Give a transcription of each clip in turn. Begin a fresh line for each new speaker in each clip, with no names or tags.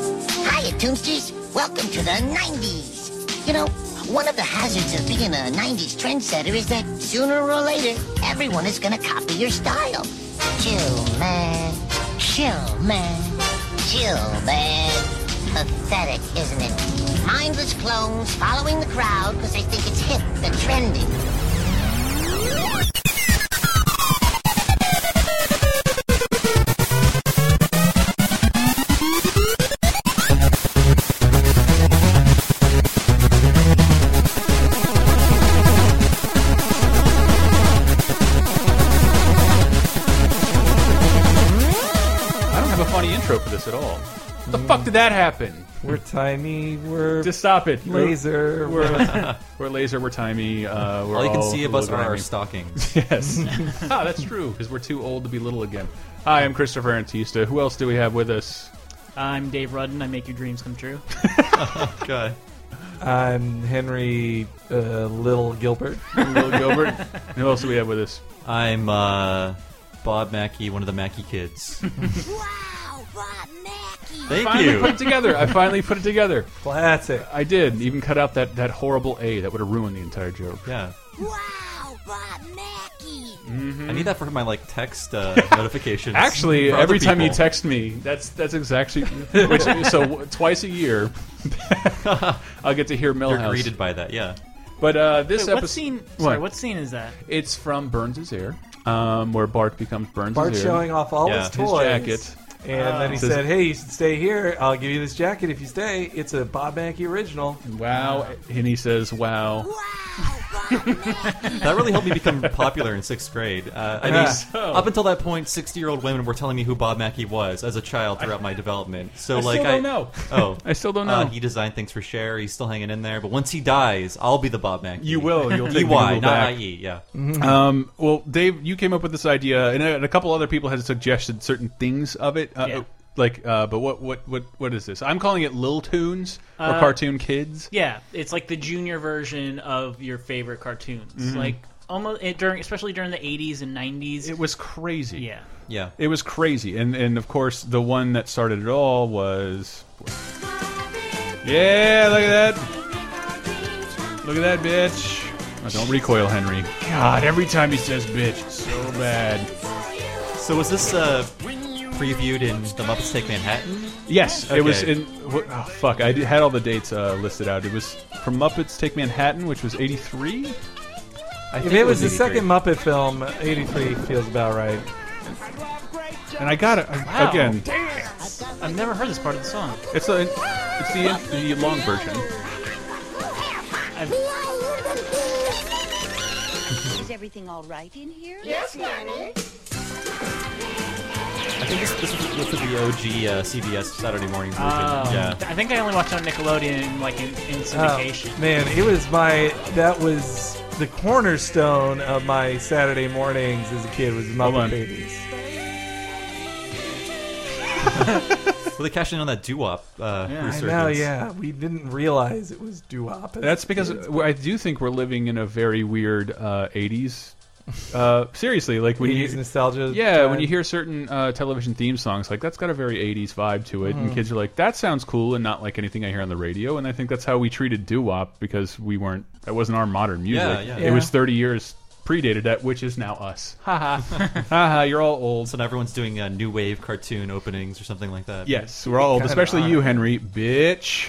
Hiya, Tombsters. Welcome to the 90s. You know, one of the hazards of being a 90s trendsetter is that sooner or later, everyone is gonna copy your style. Chill, man. Chill, man. Chill, man. Pathetic, isn't it? Mindless clones following the crowd because they think it's hip and trendy.
I don't have a funny intro for this at all. The fuck did that happen?
We're tiny. We're
Just stop it. We're-
laser. We're,
We're, we're laser. We're timey. Uh, we're
All you can
all
see of us are
little
our
timey.
stockings.
Yes. ah, that's true because we're too old to be little again. Hi, I'm Christopher Antista. Who else do we have with us?
I'm Dave Rudden. I make your dreams come true.
God.
I'm Henry uh, Little Gilbert.
Will Gilbert. And who else do we have with us?
I'm uh, Bob Mackey, one of the Mackey kids.
Wow, Bob Mackey.
Thank
Finally
you.
put it together. I finally put it together.
Classic.
I did. Even cut out that, that horrible A that would have ruined the entire joke.
Yeah.
Wow, Bob Mackey.
I need that for my like text uh, notifications.
Mm-hmm. Actually,
for other
every time you
people.
text me, that's that's exactly. Which, so w- twice a year, I'll get to hear
you're
Millhouse.
greeted by that. Yeah.
But uh, this
Wait, what
episode,
scene? Sorry,
What?
what? scene is that?
it's from Burns' Air, um, where Bart becomes Burns'
Bart
Air.
showing off all
Yeah,
his
his
his
toys.
jacket.
And then he
Says-
said, "Hey, you should stay here. I'll give you this jacket if you stay. It's a Bob Mackey original."
Wow, and he says, "Wow."
Wow, Bob Mackey.
That really helped me become popular in sixth grade. Uh, I mean,
Yeah.
So-
up until that point, sixty-year-old women were telling me who Bob Mackey was as a child throughout my development. So
I
like,
still don't
I
know.
Oh,
I still don't know.
Uh, he designed things for Cher. He's still hanging in there. But once he dies, I'll be the Bob Mackey.
You will. You'll
EY,
take the
not
Google back.
IE. Yeah.
Um, well, Dave, you came up with this idea, and a, and a couple other people had suggested certain things of it. Uh,
Yeah.
Like, uh, but what, what, what, what is this? I'm calling it Lil Tunes or
Uh,
Cartoon Kids.
Yeah, it's like the junior version of your favorite cartoons.
Mm-hmm.
Like almost it, during, especially during the '80s and '90s.
It was crazy.
yeah.
Yeah.
It was crazy, and and of course the one that started it all was. Yeah, look at that! Look at that, bitch! Oh, don't recoil, Henry. God, every time he says bitch, it's so bad.
So was this uh, previewed in The Muppets Take Manhattan?
Yes, it was
Okay.
in. What, oh, fuck, I did- had all the dates uh, listed out. It was from Muppets Take Manhattan, which was '83.
I
If it was the second Muppet film, '83 feels about right.
And I got it
Wow.
again.
I've never heard this part of the song.
It's the it's the the long version.
Is everything all right in here?
I think this, this, was, this was the OG uh, CBS Saturday morning
Oh.
version.
Um,
yeah.
I think I only watched it on Nickelodeon, like in, in syndication.
Oh, man, it was my that was the cornerstone of my Saturday mornings as a kid was
Hold on.
Muppet Babies.
Well, they cashed in on that doo-wop uh,
I
resurgence.
know, yeah. We didn't realize it was doo-wop.
That's because I do think we're living in a very weird uh, '80s. Uh, seriously, like when
we
you
use nostalgia.
yeah, when
time.
you hear certain uh, television theme songs, like that's got a very '80s vibe to it, and kids are like, "That sounds cool," and not like anything I hear on the radio. And I think that's how we treated doo wop because we weren't that wasn't our modern music.
Yeah, yeah.
It
Yeah.
was 30 years predated that, which is now us. Ha ha ha ha! You're all old.
So now everyone's doing uh, new wave cartoon openings or something like that.
Yes, we're all old,
Kinda
especially
are.
you, Henry, bitch.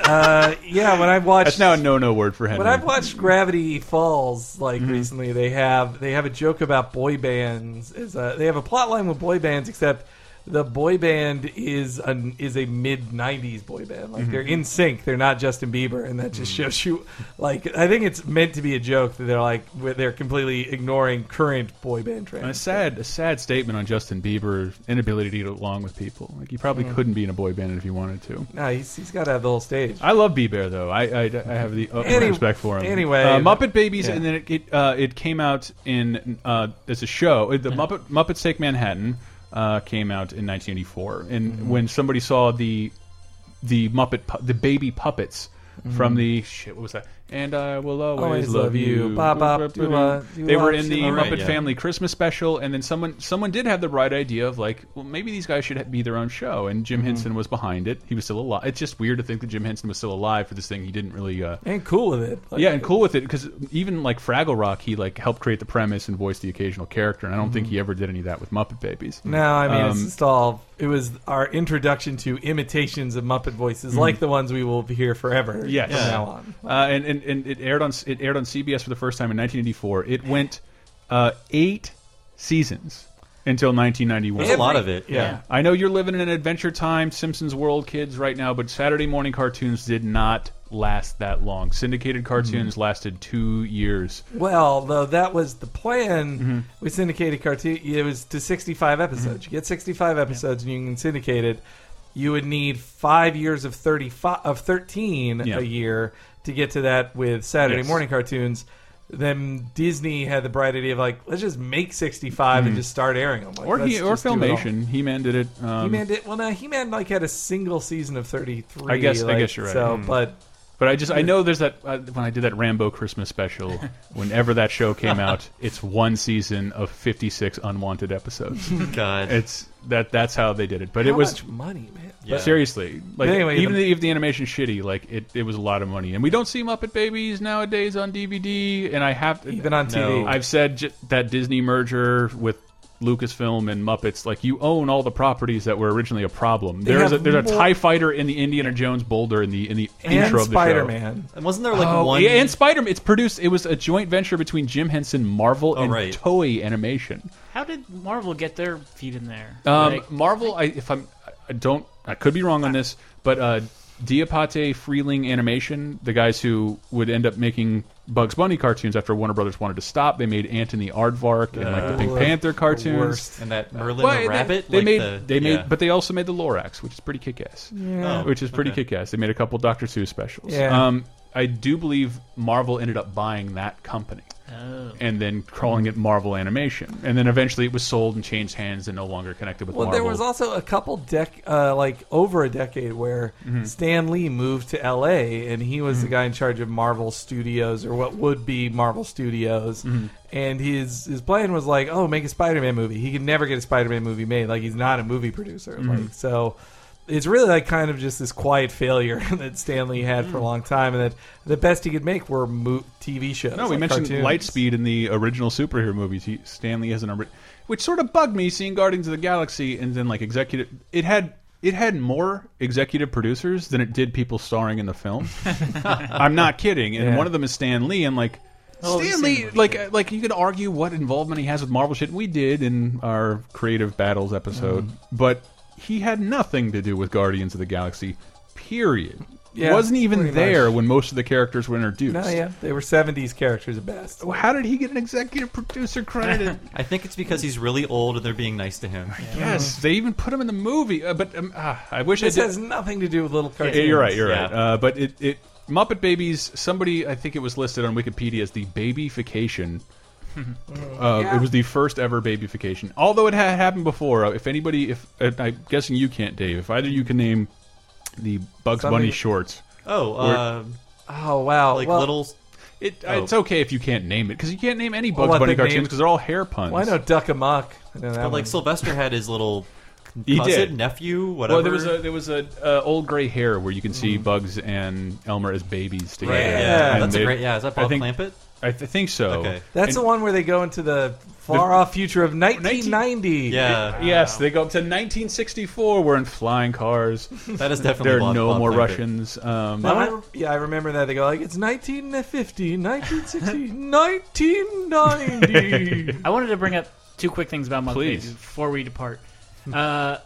uh, yeah, when I
That's
watched
now a no-no word for Henry.
when I've watched Gravity Falls like
Mm-hmm.
recently, they have they have a joke about boy bands. Is a, they have a plot line with boy bands, except the boy band is a is a mid '90s boy band.
Mm-hmm.
Like they're in sync. They're not Justin Bieber, and that just
Mm.
shows you. Like I think it's meant to be a joke that they're like where they're completely ignoring current boy band
And a
trends.
sad, a sad statement on Justin Bieber's inability to get along with people. Like he probably
Mm-hmm.
couldn't be in a boy band if he wanted to.
No, he's, he's got to have the whole stage.
I love B Bear though. I I, I have the utmost
Any-
respect for him.
anyway,
uh, Muppet Babies,
yeah.
and then it it, uh, it came out in uh, as a show. Uh, The Muppet Muppets Take Manhattan uh, came out in 1984, and
Mm-hmm.
when
Mm-hmm.
somebody saw the the Muppet pu the baby puppets from the shit, what was that? And I will always,
Always love you. Ba, ba, do, uh, do,
they
uh,
were in the
all
right,
Muppet
yeah.
Family Christmas special, and then someone someone did have the bright idea of like, well, maybe these guys should be their own show. And
Mm-hmm.
Jim Henson was behind it. He was still alive. It's just weird to think that Jim Henson was still alive for this thing. He didn't really. Uh,
and cool with it. Like,
yeah, and cool with it because even like Fraggle Rock, he like helped create the premise and voiced the occasional character, and I don't think he ever did any of that with Muppet Babies.
Mm-hmm. No, I mean it's
Um,
just all. It was our introduction to imitations of Muppet voices, like the ones we will hear forever
Mhm. Yes.
from
Yeah.
now on.
Uh, and, and and it aired on it aired on CBS for the first time in 1984. It went uh, eight seasons until 1991.
There's a lot of it.
Yeah,
I know you're living in an Adventure Time, Simpsons World kids right now, but Saturday morning cartoons did not last that long. Syndicated
Mm-hmm.
cartoons lasted two years.
Well, though that was the plan
Mm-hmm.
with syndicated cartoon. It was to 65 episodes. You get 65 episodes, and you can syndicate it. You would need five years of 35 of 13
Yeah.
a year to get to that with Saturday
Yes.
morning cartoons. Then Disney had the bright idea of like, let's just make 65 and just start airing them.
Mm-hmm.
Like,
Or he
let's
or
just do it all.
Filmation. He Man did it. Um,
He-Man did well. No, He-Man like had a single season of 33.
I guess- I
like,
guess you're right. Mm-hmm.
So, but
But I just I know there's that uh, when I did that Rambo Christmas special. Whenever that show came out, it's one season of 56 unwanted episodes.
God.
It's that that's how they did it. But it
how
was
much money, man.
Yeah.
seriously like
Anyway,
even
the-
the, if the animation's shitty, like it, it was a lot of money. And we don't see Muppet Babies nowadays on DVD. And I have
Even on TV.
I've said j that Disney merger with. Lucasfilm and Muppets, like you own all the properties that were originally a problem. There's a,
have
there's a
more-
Tie Fighter in the Indiana Jones boulder in the in the
and
intro of the show.
Spider-Man.
And wasn't there like
Oh,
one?
yeah, and Spider Man. It's produced. It was a joint venture between Jim Henson, Marvel, and
Oh, right.
Toei Animation.
How did Marvel get their feet in there?
Um,
Like,
Marvel. I, if I'm, I don't. I could be wrong on this, but uh, Diapate Freeling Animation, the guys who would end up making Bugs Bunny cartoons after Warner Brothers wanted to stop, they made Antony Aardvark and like the Pink
Ugh,
Panther
the
cartoons.
worst.
And that Merlin
Well,
the
they-
rabbit.
They,
like
made,
the-
they made,
yeah.
but they also made the Lorax, which is pretty kick-ass.
Oh,
which is pretty
okay.
kick-ass. They made a couple Doctor Seuss specials.
Yeah.
Um, I do believe Marvel ended up buying that company
oh.
and then calling it Marvel Animation, and then eventually it was sold and changed hands and no longer connected with
Well,
Marvel.
there was also a couple dec, uh, like over a decade, where
Mm-hmm.
Stan Lee moved to L.A. and he was the guy in charge of Marvel Studios or what would be Marvel Studios.
Mm-hmm.
And his his plan was like, oh, make a Spider-Man movie. He could never get a Spider-Man movie made. Like he's not a movie producer.
Mm-hmm.
Like so. It's really like kind of just this quiet failure that Stan Lee had
Mm-hmm.
for a long time, and that the best he could make were mo- TV shows.
no, we
like
mentioned
cartoons.
Lightspeed in the original superhero movies. He, Stanley has an ori- which sort of bugged me seeing Guardians of the Galaxy and then like executive. It had it had more executive producers than it did people starring in the film. I'm not kidding. And
Yeah.
one of them is Stan Lee, and like.
Oh, we've
Stan
seen the
Lee,
movie,
like, like you could argue what involvement he has with Marvel shit. We did in our creative battles episode,
Mm-hmm.
but he had nothing to do with Guardians of the Galaxy. Period.
Yeah,
wasn't even
pretty
there
much.
when most of the characters were introduced.
No, yeah, they were '70s characters at best.
Well, How did he get an executive producer credit?
I think it's because he's really old and they're being nice to him.
yes, they even put him in the movie. Uh, but um, ah, I wish
This
I did.
has nothing to do with little cartoons.
Yeah, you're right. You're
Yeah.
right. Uh, but it, it Muppet Babies. Somebody, I think it was listed on Wikipedia as the babyfication. Uh, It was the first ever babyfication. Although it had happened before. uh, If anybody, if uh, I'm guessing you can't, Dave. If either you can name the Bugs
Something-
Bunny shorts.
Oh, uh,
Oh wow!
like
well,
little.
It, uh,
Oh.
It's okay if you can't name it because you can't name any Bugs
what
Bunny
the name-
cartoons because they're all hair puns.
Why no Duck Amok? I know that
But
one.
like Sylvester had his little
He
cousin,
did.
nephew, whatever.
Well, there was a there was a uh, old gray hair where you can see Bugs and Elmer as babies together.
Mm. Right, yeah,
Yeah.
And
that's
they-
a great. Yeah, is that
I
Bob
think,
Clampett?
I th- think so.
Okay.
That's
And-
the one where they go into the far off future of 1990.
Yeah,
Yes, they go up to 1964. We're in flying cars.
that is definitely.
There are
Bob-
no
Bob
more
Clampett.
Russians. Um,
I remember- yeah, I remember that. They go like it's 1950, 1960, 1990.
I wanted to bring up two quick things about Muppet
Please.
Babies before we depart. Uh,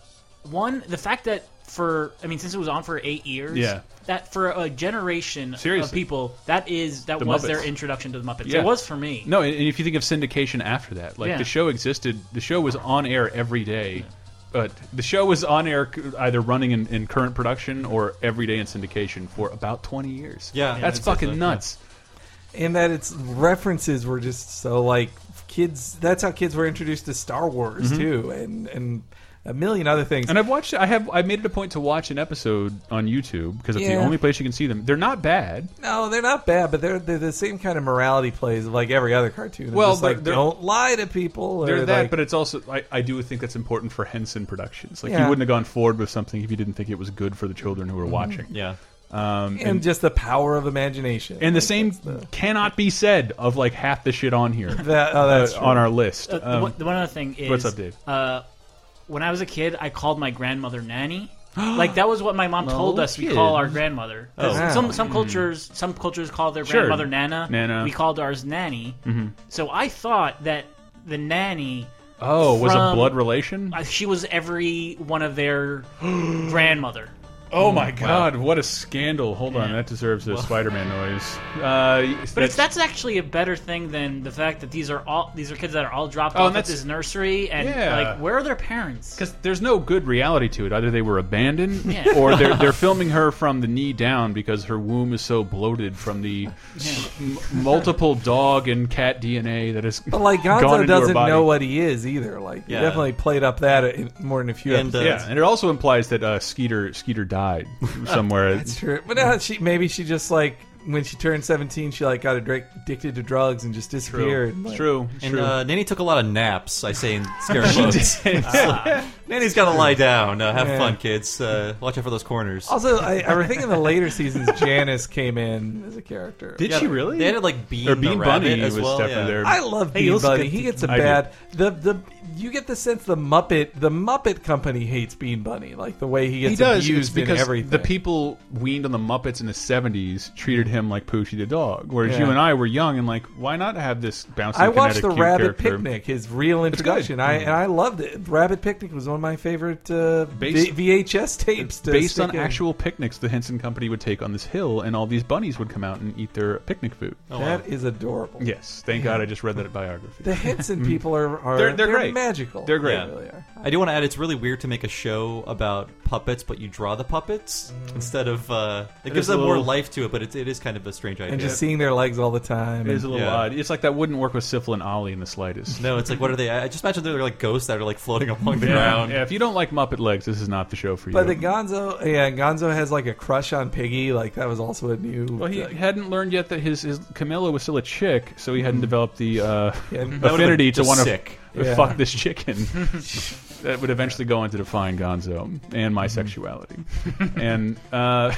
one, the fact that for I mean, since it was on for eight years,
Yeah.
that for a generation
Seriously.
of people, that is that
The
was
Muppets.
their introduction to the Muppets.
Yeah.
It was for me.
no, and if you think of syndication after that, like
Yeah.
the show existed, the show was on air every day. But the show was on air c- either running in, in current production or every day in syndication for about 20 years.
Yeah,
that's
it's-
fucking
it's-
nuts.
and that its references were just so like kids. That's how kids were introduced to Star Wars too, and and. a million other things.
Mm-hmm. And I've watched. I have. I made it a point to watch an episode on YouTube because it's the
Yeah.
only place you can see them. They're not bad.
No, they're not bad, but they're they're the same kind of morality plays of like every other cartoon.
Well,
Well, just
but
like
they're-
don't lie to people. Or
They're that,
like,
but it's also. I, I do think that's important for Henson Productions. Like
Yeah.
you wouldn't have gone forward with something if you didn't think it was good for the children who were watching.
Yeah.
and, just the power of imagination.
And the
Like,
same
that's the-
cannot be said of like half the shit on here
that oh, that's
uh,
true.
on our list.
Uh, the
Um,
one, the one other thing is
what's up, Dave?
Uh, when I was a kid, I called my grandmother nanny. like that was what my mom told
No
us. We
kidding.
call our grandmother. 'Cause
Oh.
Some some cultures some cultures call their
Hmm. Sure.
grandmother nana.
Nana. Mm-hmm.
We called ours nanny. So I thought that the nanny
oh, was a
from-
blood relation?
uh, she was every one of their grandmother.
oh my god, what a scandal! Hold on, that deserves a Spider-Man noise. Uh,
But it's, that's actually a better thing than the fact that these are all these are kids that are all dropped
Oh,
off
and
at
that's-
this nursery and
Yeah.
like where are their parents?
because there's no good reality to it. Either they were abandoned,
Yeah.
or they're they're filming her from the knee down because her womb is so bloated from the m- multiple dog and cat DNA that has
But like
gone
Gonzo
into her
doesn't
body.
know what he is either. Like he
Yeah.
definitely played up that in, more than a few
And, uh,
episodes.
Yeah, and it also implies that uh, Skeeter Skeeter died somewhere.
That's true. But now she maybe she just like when she turned seventeen, she like got addic- addicted to drugs and just disappeared.
It's
Like,
true. It's
And
true.
uh, Nanny took a lot of naps, I say in scare quotes. Nanny's got to lie down. Uh, have
Yeah.
fun, kids. Uh, watch out for those corners.
Also, I, I think in the later seasons, Janice came in as a character.
Did
Yeah,
she really?
They added like Bean,
or
the
Bean
rabbit
Bunny
as
was
well.
definitely
yeah.
there.
I love
Hey,
Bee
let's
Bunny.
get
He
to-
gets a
I do.
bad the the you get the sense the Muppet the Muppet Company hates Bean Bunny like the way he gets
he does it's
abused in
because
everything.
the people weaned on the Muppets in the '70s treated him like Poochie the dog, whereas
Yeah.
you and I were young and like, why not have this bouncy?
I watched
kinetic,
the
cute
Rabbit
character?
Picnic, his real introduction. I and I loved it. Rabbit Picnic was one of my favorite uh,
Based-
v- VHS tapes. To
based
stick
on
in.
actual picnics the Henson Company would take on this hill, and all these bunnies would come out and eat their picnic food.
Oh, wow.
That is adorable.
Yes, thank God I just read that biography.
The Henson people are, are
They're- they're great.
magical.
They're great.
They really are.
I do want to add, it's really weird to make a show about puppets, but you draw the puppets instead of. Uh, it gives
Mm. is a
them more
little-
life to it, but it's, it is kind of a strange idea.
And just seeing their legs all the time.
it
and-
is a little
Yeah.
odd. It's like that wouldn't work with Syphil and Ollie in the slightest.
no, it's like what are they? I I just imagine they're like ghosts that are like floating along the
Yeah.
ground.
yeah, if you don't like Muppet legs, this is not the show for you.
but the Gonzo, yeah, Gonzo has like a crush on Piggy. Like that was also a new.
Well, he
like,
hadn't learned yet that his, his Camilla was still a chick, so he
Mm-hmm.
hadn't developed the uh,
and-
That would've been
affinity to
just
want to
sick.
Yeah.
fuck this chicken. that would eventually go on to define Gonzo and
Mm-hmm.
my sexuality. and uh,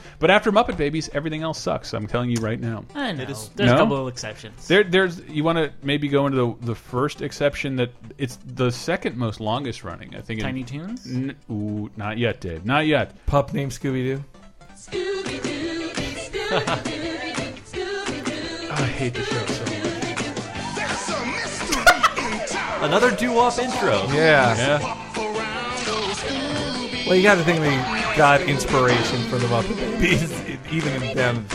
but after Muppet Babies, everything else sucks. I'm telling you right now.
I know.
is-
There's
No?
a couple of exceptions.
There, there's you want to maybe go into the, the first exception that it's the second most longest running. I think in-
Tiny Toons.
N- ooh, not yet, Dave. Not yet.
pup named Scooby Doo.
I hate the show so much.
Another doo-wop intro.
Yeah.
Yeah.
Well, you got to think they got inspiration from the Muppet Babies, e- even in them.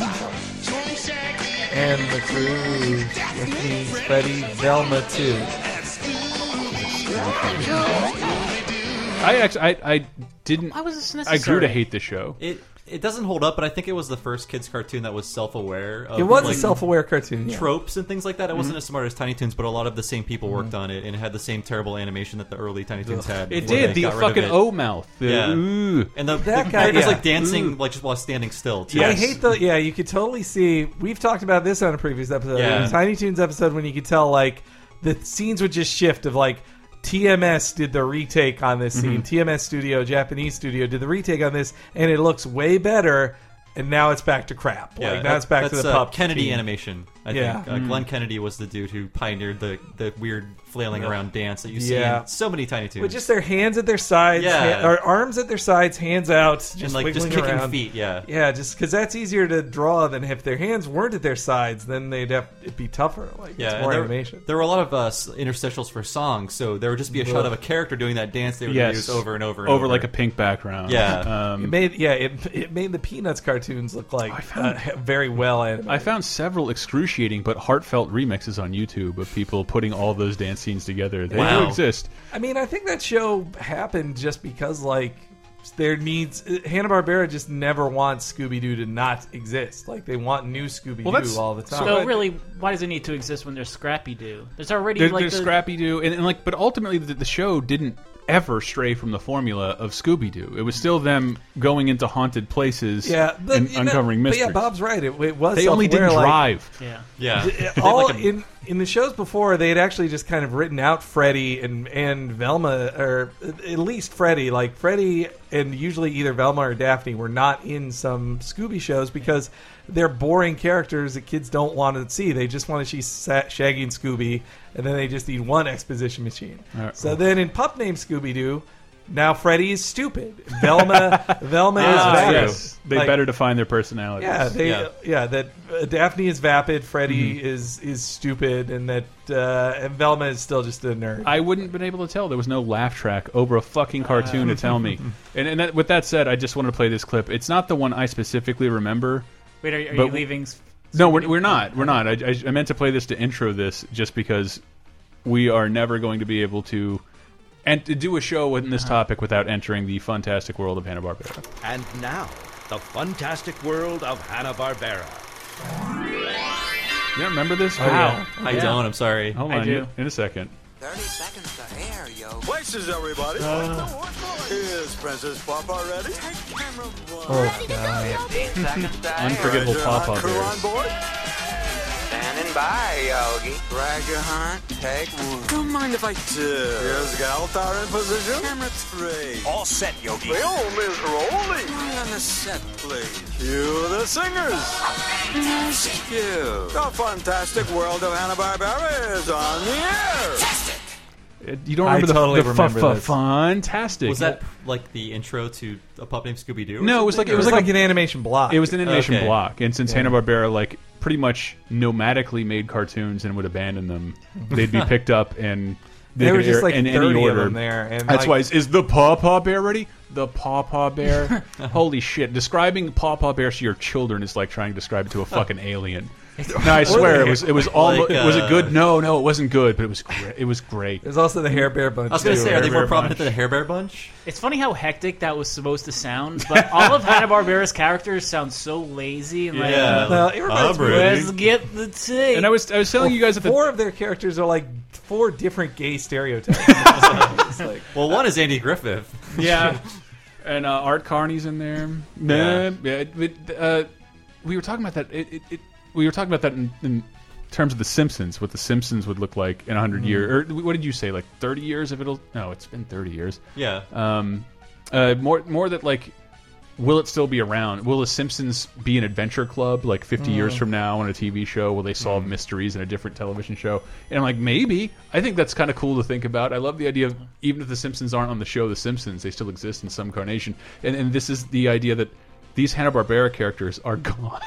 And the crew, which means Freddy, Velma too.
I actually I, I didn't.
Why was this
I grew
necessary?
to hate the show.
It it doesn't hold up, but I think it was the first kids cartoon that was self-aware. Of,
It was
like,
a self-aware Mm-hmm. cartoon. yeah.
tropes and things like that. It wasn't as smart as Tiny Toons, but a lot of the same people worked
Mm-hmm.
on it, and it had the same terrible animation that the early Tiny Toons had.
It
before
did
they
the
got rid of
fucking
it.
O mouth. The,
Yeah.
ooh.
And the,
That
the
guy,
character's
yeah.
like dancing like just while standing still. Too.
I hate the yeah. You could totally see. We've talked about this on a previous episode,
Yeah.
the Tiny Toons episode, when you could tell like the scenes would just shift of like TMS did the retake on this
Mm-hmm.
scene, TMS Studio, Japanese Studio did the retake on this, and it looks way better. And now it's back to crap.
Yeah,
like now
that-
it's back to
that's,
the
uh,
pup.
Kennedy
team.
animation. I
Yeah. Mm-hmm.
think uh, Glenn Kennedy was the dude who pioneered the the weird flailing around dance that you see
Yeah.
in so many Tiny Toons.
But just their hands at their sides,
Yeah.
ha- or arms at their sides, hands out, just
and like just
wiggling
kicking
around.
feet. Yeah.
Yeah, just because that's easier to draw than if their hands weren't at their sides, then they'd have it'd be tougher. Like
Yeah,
it's
and
more
there,
animation.
there were a lot of uh, s- interstitials for songs, so there would just be a shot of a character doing that dance they would
Yes.
use over and over and
over
over.
like a pink background.
Yeah.
Um,
It made yeah, it, it made the Peanuts cartoons look
Oh,
like uh, very well animated.
I found several excruciating but heartfelt remixes on YouTube of people putting all those dance scenes together. They do
Wow.
exist.
I mean, I think that show happened just because like there needs Hanna Barbera just never wants Scooby Doo to not exist. Like they want new Scooby Doo
Well, that's-
all the time.
So really, why does it need to exist when there's Scrappy Doo? There's already
There,
like
there's
the,
Scrappy Doo, and, and like, but ultimately the, the show didn't ever stray from the formula of Scooby Doo. It was still them going into haunted places
Yeah, but,
and
you know-
uncovering
but
mysteries.
yeah, Bob's right. It, it was
they only didn't
self-aware, like-
drive.
Yeah.
Yeah. They
all
like a-
in in the shows before they had actually just kind of written out Freddy and and Velma or at least Freddy like Freddy and usually either Velma or Daphne were not in some Scooby shows because they're boring characters that kids don't want to see they just want to see Sa- Shaggy and Scooby and then they just need one exposition machine
right.
so then in Pup Named Scooby Doo now Freddy is stupid Velma Velma is
Ah,
better.
yes. They
Like-
better define their personalities.
yeah, they,
Yeah.
yeah, that uh, Daphne is vapid, Freddy is is stupid, and that uh, and Velma is still just a nerd.
I wouldn't been able to tell. There was no laugh track over a fucking cartoon to tell me. And, and that, with that said, I just wanted to play this clip. It's not the one I specifically remember.
Wait, are, are
But-
you leaving? s-
No, we're, we're not. We're not. I, I, I meant to play this to intro this just because we are never going to be able to and to do a show within this topic without entering the fantastic world of Hanna-Barbera.
And now, the fantastic world of Hanna-Barbera.
You don't remember this?
yeah.
I don't. I'm sorry.
Hold
I
on.
do.
In a second.
30 seconds to air, yo.
Places, everybody.
Uh,
Is Princess Papa ready?
Camera one.
Oh, God.
15 seconds to air.
Unforgettable
Is your
pop
hot
up
crew on
there.
board?
Standing by, Yogi. Drag your hunt. Take one.
Don't mind if I do. Here's Galtar in position.
Camera three.
All set, Yogi. Film is rolling.
All on the set, please.
Cue the singers.
Thank you.
The fantastic world of Hanna-Barbera is on the air.
It- You don't
I
remember the,
totally
the
remember
fa- fa-
this.
fantastic.
Was that like the intro to a pop named Scooby Doo?
No, it was like it was like
an animation block.
It was an animation
Okay.
block, and since Hanna Barbera like pretty much nomadically made cartoons and would abandon them, they'd be picked up and they
There
could
were just,
air
like,
in
30
any
of
order.
them there, and,
That's
like-
why is, is the Paw Paw Bear ready? The Paw Paw Bear. Holy shit! Describing Paw Paw Bear to your children is like trying to describe it to a fucking alien. No, I swear it was. It was all.
Like,
was it
uh,
good? No, no, it wasn't good, but it was. Great. It was great.
There's also the Hair Bear Bunch.
I was gonna
too,
say, are they
Hair
more
Bear Bunch.
prominent than the Hair Bear Bunch?
It's funny how hectic that was supposed to sound, but all of Hanna Barbera's characters sound so lazy and like,
Well, it reminds me
I'm
of-
ready.
let's get the tea.
And I was I was telling you guys at the
Four of their characters are like four different gay stereotypes. It's like-
Well, one is Andy Griffith.
Yeah. and uh, Art Carney's in there.
Yeah.
Yeah. yeah but, uh, we were talking about that. It, it, it, we were talking about that in, in terms of The Simpsons, what The Simpsons would look like in 100 years. Or what did you say? Like 30 years if it'll. No, it's been 30 years.
Yeah.
Um, uh, more, more that like. Will it still be around? Will the Simpsons be an adventure club like 50 years
Mm.
from now on a TV show? Will they solve mysteries in a different television show? And I'm like, maybe. I think that's kind of cool to think about. I love the idea of
Mm-hmm.
even if the Simpsons aren't on the show, the Simpsons they still exist in some carnation. And and this is the idea that these Hanna Barbera characters are gone.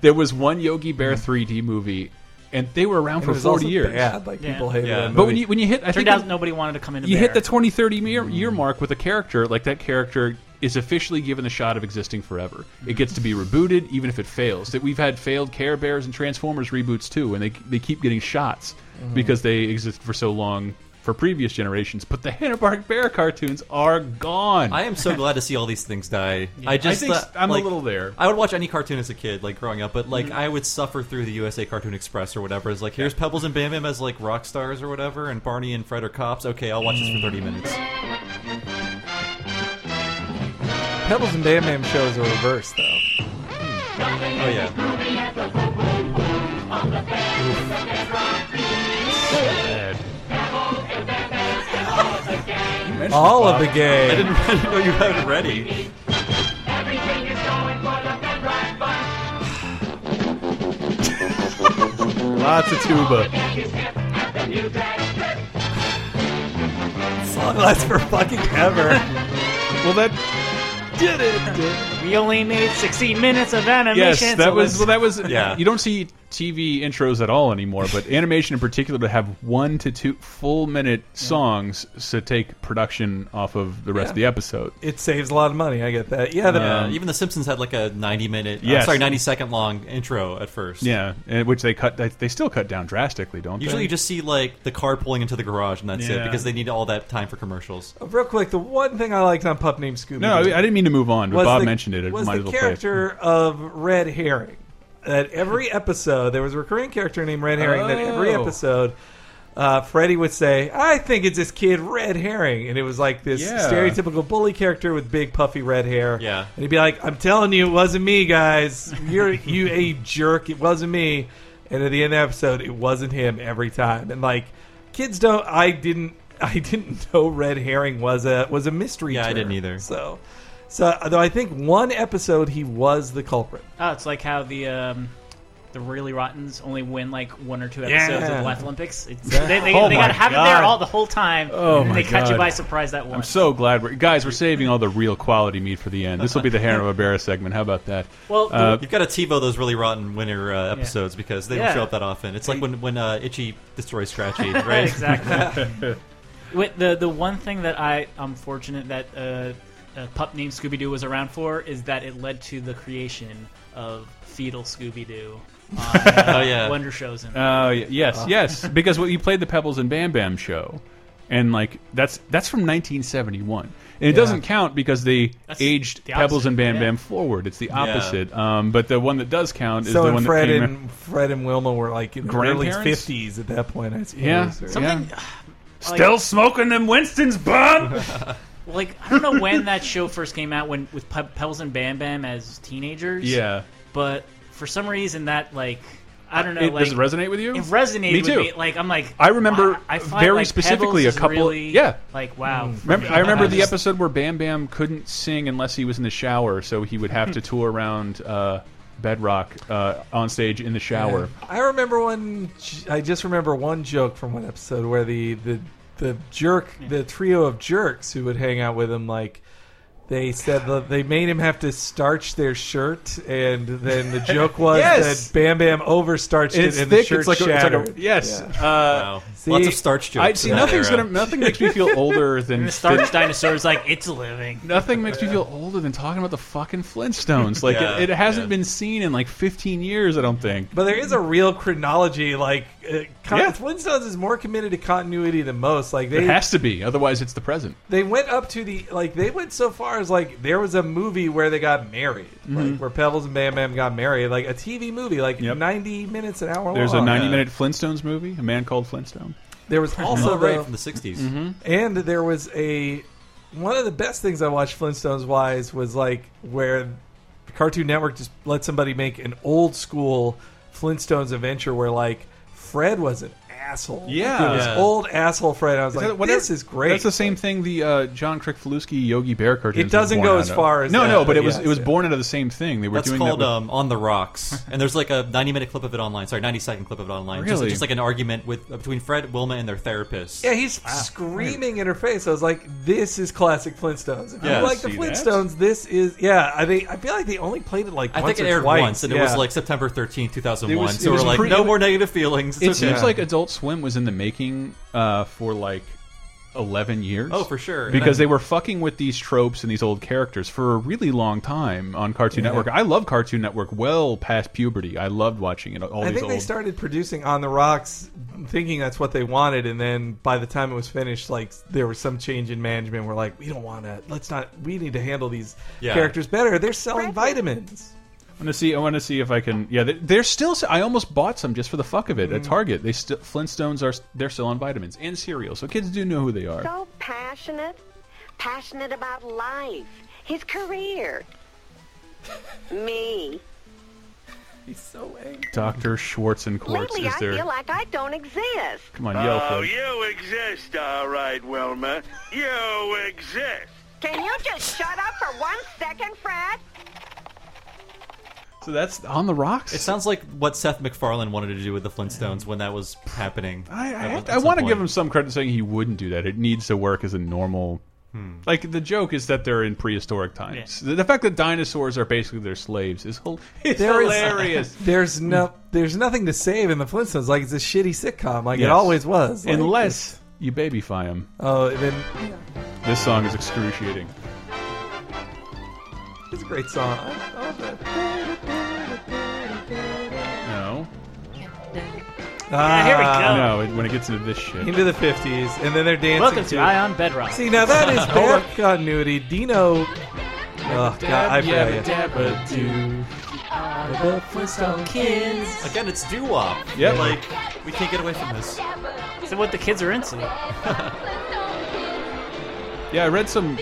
there was one Yogi Bear 3D movie, and they were around
Mm-hmm.
for
it was also
40 years.
bad. Like
Yeah.
people hated
Yeah.
that
But when
movie.
you when you hit, I think
Turned out nobody wanted to come in.
you hit the 20 30 year, year mark with a character like that character is officially given the shot of existing forever it gets to be rebooted even if it fails that we've had failed care bears and transformers reboots too and they, they keep getting shots because they exist for so long for previous generations but the hanna-barbera cartoons are gone
I am so glad to see all these things die. I
I
just
think
thought,
i'm
like,
a little there Mm-hmm.
I would watch any cartoon as a kid, like growing up, but like I would suffer through the USA Cartoon Express or whatever. It's like here's Pebbles and Bam Bam as like rock stars or whatever, and Barney and Fred are cops. Okay, I'll watch this for thirty minutes.
Pebbles and Bam Bam shows are reversed though.
Oh yeah,
Bad. You mentioned
All of
Bob.
the gay.
I didn't, I didn't know you had it ready.
lots of tuba
Oh,
song lasts for fucking ever.
well that
We only made 16 minutes of animation.
Yes, that
so
was well,
let's-
that was
Yeah.
You don't see TV intros at all anymore, but animation in particular to have one to two full minute songs to take production off of the rest of the
Yeah.
episode.
It saves a lot of money. I get that. Yeah, the,
Yeah, Uh, even The Simpsons had like a ninety minute, uh,
Yes.
sorry, ninety second long intro at first.
Yeah, and which they cut. They, they still cut down drastically, don't
Usually
they?
you just see like the car pulling into the garage and that's
Yeah.
it because they need all that time for commercials.
Real quick, the one thing I liked on Pup Named Scooby.
no, I I didn't mean to move on, but Bob
the,
mentioned it. I
was
might
the
as well play it.
character of Red Herring. That every episode there was a recurring character named Red Herring. That every
Oh.
episode uh, Freddie would say, "I think it's this kid Red Herring," and it was like this
Yeah.
stereotypical bully character with big puffy red hair.
Yeah.
and he'd be like, "I'm telling you, it wasn't me, guys. You're you a jerk. It wasn't me." And at the end of the episode, it wasn't him every time. And like, kids don't. I didn't. I didn't know Red Herring was a was a mystery.
Yeah, I
term.
didn't either.
So, so though I think one episode he was the culprit.
Oh, it's like how the um, the really rottens only win like one or two episodes
Yeah.
of the Last Olympics. It's, they they,
Oh
they
my
got to have it there
God.
all the whole time.
Oh
and
my
they catch
God.
you by surprise that one.
I'm so glad we're guys. We're saving all the real quality meat for the end. This will be the Hanna Barbera segment. How about that?
well, the-
Uh,
You've got to TiVo those really rotten winter uh, episodes because they
Yeah.
don't show up that often. It's like when when uh, Itchy destroys Scratchy,
Right,
right?
exactly. With the the one thing that I I'm fortunate that uh, a pup named Scooby Doo was around for is that it led to the creation of fetal Scooby Doo on uh,
Oh yeah.
Wonder Shows and
Oh y yes, yes. Because what you played the Pebbles and Bam Bam show, and like that's that's from 1971, and it doesn't count because they
That's
aged
the
Pebbles
opposite,
and Bam
yeah.
Bam forward. It's the opposite. Um, but the one that does count is
so
the
and
one
Fred
that came.
and Fred and Wilma were like in the early
Grandparents?
fifties at that point, I suppose.
yeah,
or-
something.
yeah.
like-
Still smoking them Winston's, bub.
Like I don't know when that show first came out when with Pe- Pebbles and Bam Bam as teenagers.
yeah,
but for some reason that like I don't know.
Uh, it,
like,
does it resonate with you?
It resonated
Me too.
with me. Like I'm like
I remember
wow, I find,
very
like,
specifically a
Pebbles is
couple-
Really,
yeah. Mm.
like wow. for
Remember,
me.
I remember the
just-
episode where Bam Bam couldn't sing unless he was in the shower, so he would have to tour around uh, Bedrock uh, on stage in the shower.
I remember one. j- I just remember one joke from one episode where the the the jerk,
Hmm.
the trio of jerks who would hang out with him, like they said that they made him have to starch their shirt, and then the joke was
Yes!
that Bam Bam overstarched
It's
it, and the
thick.
shirt
It's like, a, it's like
shattered.
a yes.
Yeah.
Uh,
Wow. Lots of
See,
starch jokes.
I see.
in that
Nothing's
era.
gonna. Nothing makes me feel older than.
And the Starch
than-
Dinosaur's like it's living.
Nothing makes me feel older than talking about the fucking Flintstones. Like
Yeah,
it, it hasn't
yeah.
been seen in like 15 years, I don't think.
But there is a real chronology. Like uh, con-
Yeah.
Flintstones is more committed to continuity than most. Like
It
they
has to be, otherwise it's the present.
they went up to the like they went so far as like there was a movie where they got married, like where Pebbles and Bam Bam got married, like a TV movie, like
Mm-hmm. Yep.
ninety minutes an hour.
There's a
long.
90-minute Flintstones movie, A Man Called Flintstone.
There was also
Oh, right
the,
from the '60s.
Mm-hmm.
and there was a one of the best things I watched Flintstones wise was like where Cartoon Network just let somebody make an old school Flintstones adventure where like Fred was an asshole.
Yeah.
it was
Yeah.
old asshole Fred. I was
Is
like,
that what-
this is great.
That's the same thing the uh, John Kricfaluski Yogi Bear cartoon.
It doesn't go as far as
no,
that,
no, but
but
it was
yes,
it was
yeah. uh,
born out of the same thing. They were
That's
doing
called
that. with-
um, On the Rocks, and there's like a 90 minute clip of it online. Sorry, 90 second clip of it online. Just-
Really?
Just, like an argument with uh, between Fred, Wilma, and their therapist.
Yeah, he's screaming in her face. I was like, "This is classic Flintstones." If
Yeah,
you like the
see that?
Flintstones, this is yeah. I think I feel like they only played it like
I
once
think it
or
aired
twice.
once, and
yeah.
it was like September 13th, 2001.
It was- it
so
was
we're like,
pre-
no more negative feelings.
it
It's okay.
seems like Adult Swim was in the making uh, for like 11 years.
Oh, for sure. And
Because
I-
they were fucking with these tropes and these old characters for a really long time on Cartoon Network. I love Cartoon Network well past puberty. I loved watching it. All
I
these
think
old.
they started producing on the rocks, thinking that's what they wanted, and then by the time it was finished, like there was some change in management. We're like, we don't want to. Let's not. We need to handle these
Yeah.
characters better. They're selling vitamins.
I want to see. I want to see if I can. Yeah, they- they're still. I almost bought some just for the fuck of it
Mm.
at Target. They still Flintstones are. They're still on vitamins and cereal, so kids do know who they are.
so passionate, passionate about life, his career. Me.
He's so angry.
Doctor Schwartz and Quartz
Lately,
is
I
there.
feel like I don't exist.
Come on, yell
Oh,
for it.
you exist, all right, Wilma. You exist.
Can you just shut up for one second, Fred?
So that's on the rocks.
It sounds like what Seth MacFarlane wanted to do with the Flintstones when that was happening.
I, I,
At-
have
at
to- I
some
want to
point.
give him some credit saying he wouldn't do that. It needs to work as a normal.
Hmm.
Like the joke is that they're in prehistoric times. The, the fact that dinosaurs are basically their slaves is hol- it's
There is-
hilarious.
There's
Hmm.
no. There's nothing to save in the Flintstones. Like it's a shitty sitcom. Like
Yes.
it always was. Like,
Unless you babyfy him.
oh, and then
This song is excruciating.
it's a great song. I love it.
No,
Yeah, here we
Uh,
go.
Ah, no. It, when it gets into this shit,
Ah, Into the fifties, and then they're dancing.
Welcome to
to-
Ion Bedrock.
See, now that is bad continuity. Dino. Oh God, I forgot. you.
Yabba-dabba doo.
Flintstone kids.
Again, it's doo wop.
Yep.
Like, we can't get away from this.
It's what the kids are into.
Yeah, I read some.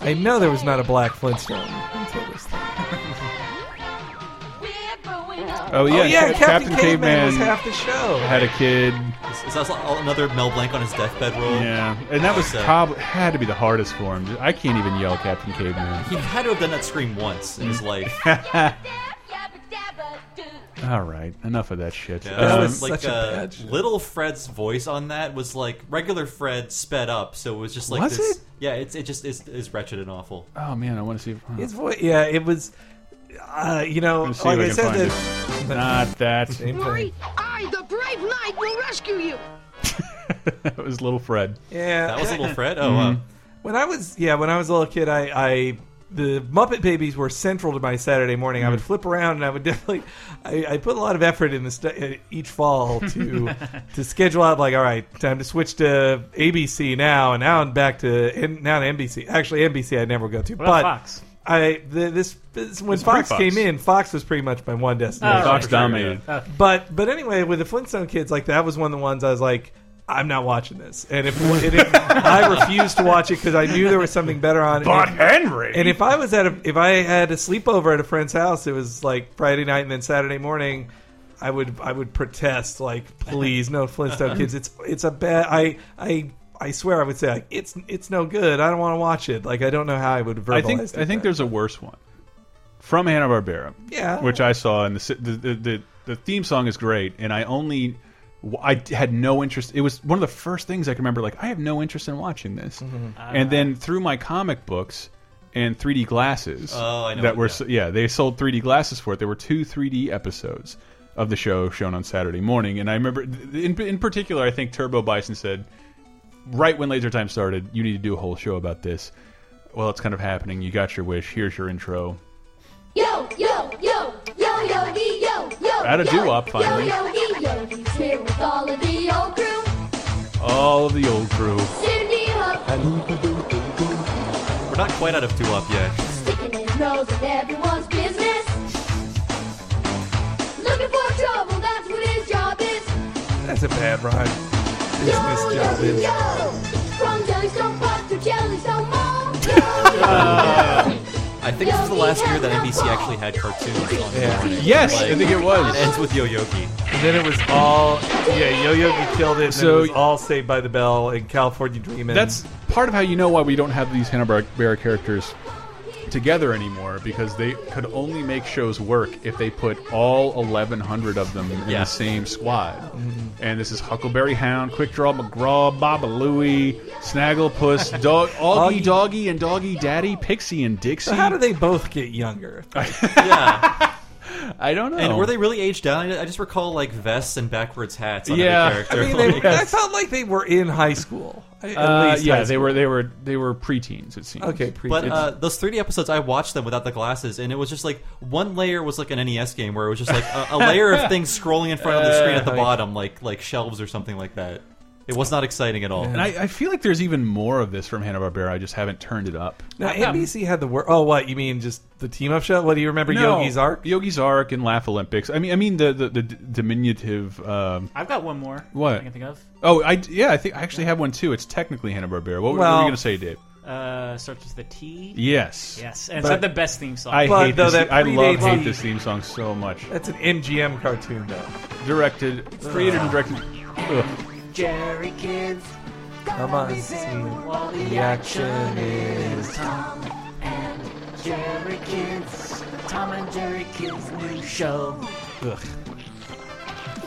I know there was not a black Flintstone until this thing.
Oh yeah,
oh, yeah,
Cap-
Captain, Caveman, was
Caveman
half the show.
had a kid.
Is, is that another Mel Blanc on his deathbed role?
Yeah, and that was
So-
probably had to be the hardest for him. I can't even yell Captain Caveman.
He had to have done that scream once in his
Mm.
life.
All right, enough of that shit.
Yeah,
Um,
that
Um,
was like
such a
uh,
bad show.
little Fred's voice on that was like regular Fred sped up, so it was just like
Was
this.
it?
Yeah, it's it just is, is wretched and awful.
Uh,
oh man, I want to see. If,
His voice, yeah, it was. Uh, you know,
Let's
like
see if I
I
can
said,
find
that,
Not that.
Same thing.
I, the brave knight, will rescue you.
that was little Fred.
Yeah, Mm-hmm.
That was little Fred. Oh, uh,
When I was yeah, when I was a little kid, I, I the Muppet Babies were central to my Saturday morning. I would
Hmm.
flip around and I would definitely I, I put a lot of effort in this uh, each fall to to schedule out like all right, time to switch to ABC now and now and back to and now to NBC. Actually, NBC I never go to,
What about
but
Fox?
I the, this, this when Fox,
pre-Fox.
came in, Fox was pretty much my one destination.
Oh,
Fox
right.
dominated.
But but anyway, with the Flintstone kids, like that was one of the ones I was like, I'm not watching this, and if, and if I refused to watch it because I knew there was something better on it.
But
And-
Henry.
and if I was at a, if I had a sleepover at a friend's house, it was like Friday night and then Saturday morning. I would I would protest like please no Flintstone kids it's it's a bad I I I swear I would say like, it's it's no good I don't want to watch it like I don't know how I would verbalize
I think
it,
I think
but-
there's a worse one from Hanna Barbera.
Yeah.
which I saw, and the si- the, the the the theme song is great, and I only. I had no interest. It was one of the first things I can remember. Like, I have no interest in watching this. and then through my comic books and 3D glasses
Oh, I know
that
what-
were
yeah.
s- yeah, they sold 3D glasses for it. There were two 3D episodes of the show shown on Saturday morning, and I remember in in particular, I think Turbo Bison said, right when Laser Time started, you need to do a whole show about this. Well, it's kind of happening. You got your wish. Here's your intro.
Yo, yo, yo, yo, yo, dee, yo, yo.
Add a
yo,
doo-wop, finally.
Yo, yo, dee, yo, dee's here with all of the old crew.
All of the old crew.
Cindy Hook,
we're not quite out of two up yet.
sticking his nose in everyone's business. Looking for trouble, that's what his job is.
that's a bad rhyme
Yo,
business job
yo,
is
yo. From Jellystone Park to Jellystone Mall. Yo, yo,
I think this was the last year that NBC actually had cartoons on the
Yeah.
morning.
Yes,
Like,
I think it was.
It ends with Yo Yogi.
And then it was all yeah, Yo Yo killed it. And
So-
so it was all Saved by the Bell and California Dreamin'.
That's part of how you know why we don't have these Hanna Barbera characters together anymore because they could only make shows work if they put all 1,100 of them in
Yeah.
the same squad. And this is Huckleberry Hound, Quick Draw McGraw, Baba Louie, Snagglepuss, Dog, Augie
Augie.
Doggy, and Doggy Daddy, Pixie and Dixie.
so how do they both get younger?
Yeah,
I don't know.
and
Oh.
were they really aged down? I I just recall like vests and backwards hats on
Yeah.
every
I
character.
mean, they,
Like,
I felt like they were in high school. At
Uh,
least
yeah,
high
they
school.
were. They were. They were preteens. It seems.
Okay, pre-
But uh, those 3D episodes, I watched them without the glasses, and it was just like one layer was like an NES game where it was just like a, a layer of things scrolling in front of the screen at the
Uh,
bottom, like like shelves or something like that. It was not exciting at all.
And I, I feel like there's even more of this from Hanna Barbera. I just haven't turned it up.
now NBC had the word. Oh, what you mean? Just the team up show? What do you remember? Yogi's arc.
Yogi's Ark and Laugh Olympics. I mean, I mean the the, the d- diminutive. Um,
I've got one more.
What?
I can think of.
oh, I yeah, I think I actually have one too. It's technically Hanna Barbera. What, were- what were
Well-
you going to say, Dave?
Uh, starts with the T.
Yes,
Yes, and it's not the best theme song.
I
But
hate
though
this.
that
I love
predates
hate
the-
this theme song so much.
That's an MGM cartoon, though.
Directed, created, and directed. Ugh.
Jerry kids.
Come on, see what the action is.
Jerry kids. Tom and Jerry kids new show.
Ugh.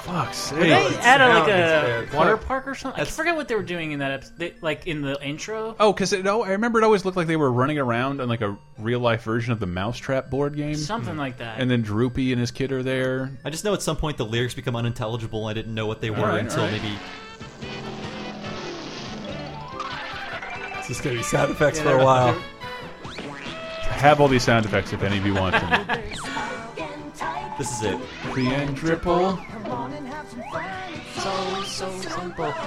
Fuck's
Were they
sake.
at a, like
Sound
a
is bad.
water park or something? I
That's-
forget what they were doing in that episode. They, like in the intro.
Oh, because it. Oh, I remember it always looked like they were running around on like a real life version of the Mousetrap board game.
Something like that.
And then Droopy and his kid are there.
I just know at some point the lyrics become unintelligible. and I didn't know what they were
right,
until
all right.
maybe.
It's just gonna be sound effects
Yeah,
for a
they're-
while.
Have all these sound effects if any of you want them.
This is it.
the end triple.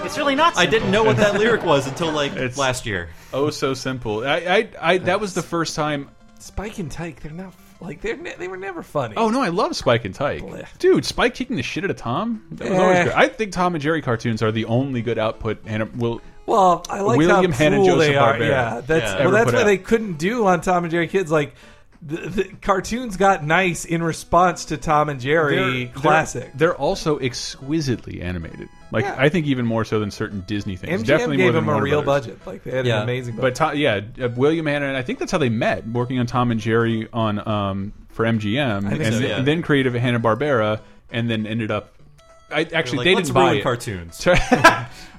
It's really not.
I
Simple.
didn't know what that lyric was until like
It's-
last year.
Oh, so simple. I, I, I. That was the first time
Spike and Tyke, they're not Like they're ne- they were never funny.
Oh no, I love Spike and Tyke. Dude, Spike kicking the shit out of Tom. That was always
Eh.
good. I think Tom and Jerry cartoons are the only good output and will
Well, I like
William
how
Hanna
cruel they are.
Joseph-Barbera
Yeah, that's
ever
well, that's
put
why
out.
they couldn't do on Tom and Jerry Kids. Like the, the cartoons got nice in response to Tom and Jerry
They're-
classic.
They're, they're also exquisitely animated. Like
Yeah.
I think even more so than certain Disney things.
MGM
Definitely
gave
more than
them a
Warner
real
Brothers.
budget. Like, they had an amazing budget.
But Tom, yeah, uh, William Hanna and I think that's how they met, working on Tom and Jerry on um, for MGM,
I
and,
think so,
then-
yeah.
and then creative Hanna Barbera, and then ended up. I actually
like,
they
"Let's
didn't buy
ruin
it.
cartoons.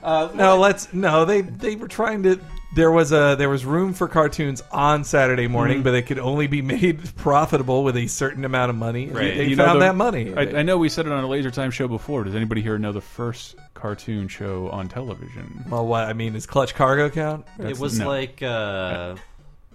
Uh, no, let's no. They they were trying to. There was a there was room for cartoons on Saturday morning,
Mhm.
but they could only be made profitable with a certain amount of money. and They,
You know
found
the-
that money.
I, I know we said it on a laser time show before. Does anybody here know the first cartoon show on television?
well, what I mean is Clutch Cargo count.
It was
no.
like uh,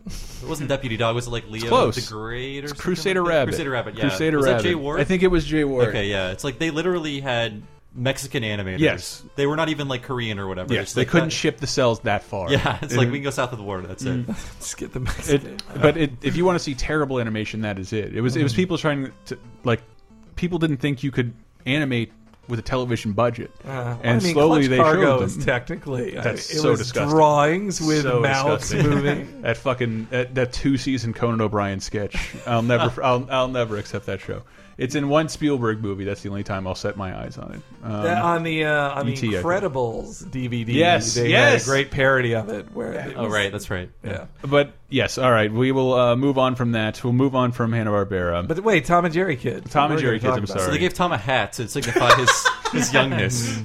it wasn't Deputy Dog. Was it like Leo
close.
the Great or
It's
something
Crusader
like that?
Rabbit.
Crusader Rabbit. Yeah.
Crusader
was that Jay
Rabbit.
Ward?
I think it was Jay Ward.
Okay, yeah. It's like they literally had Mexican animators.
Yes.
they were not even like Korean or whatever.
Yes,
It's
they
like
couldn't Mm-hmm.
that-
ship the cells that far.
Yeah, it's like
And-
we can go south of the border. That's
Mm-hmm.
it.
Just get the
It-
Mexican.
but it, if you want to see terrible animation, that is it. It was it was
Mhm.
Mm-hmm.
people trying to like people didn't think you could animate with a television budget,
Uh,
and
I mean,
slowly
Clutch
they
Cargo
showed them.
is technically- I-
that's
it
so
was
disgusting.
drawings with
So
mouths
disgusting.
moving.
that fucking that, that two season Conan O'Brien sketch. I'll never I'll, I'll never accept that show. It's in one Spielberg movie. That's the only time I'll set my eyes on it. Um,
That- on the uh, on
ET, I
the
think.
Incredibles DVD,
Yes,
they had a
yes.
great parody of it. Where it
Oh
was-
right, that's right.
yeah.
But yes, all right. We will uh, move on from that. We'll move on from Hanna Barbera.
But wait, Tom and Jerry Kid.
Tom and
We're
Jerry Kids,
gonna talk
I'm
So
about
they
sorry.
gave Tom a hat to signify his his
Mm-hmm.
youngness.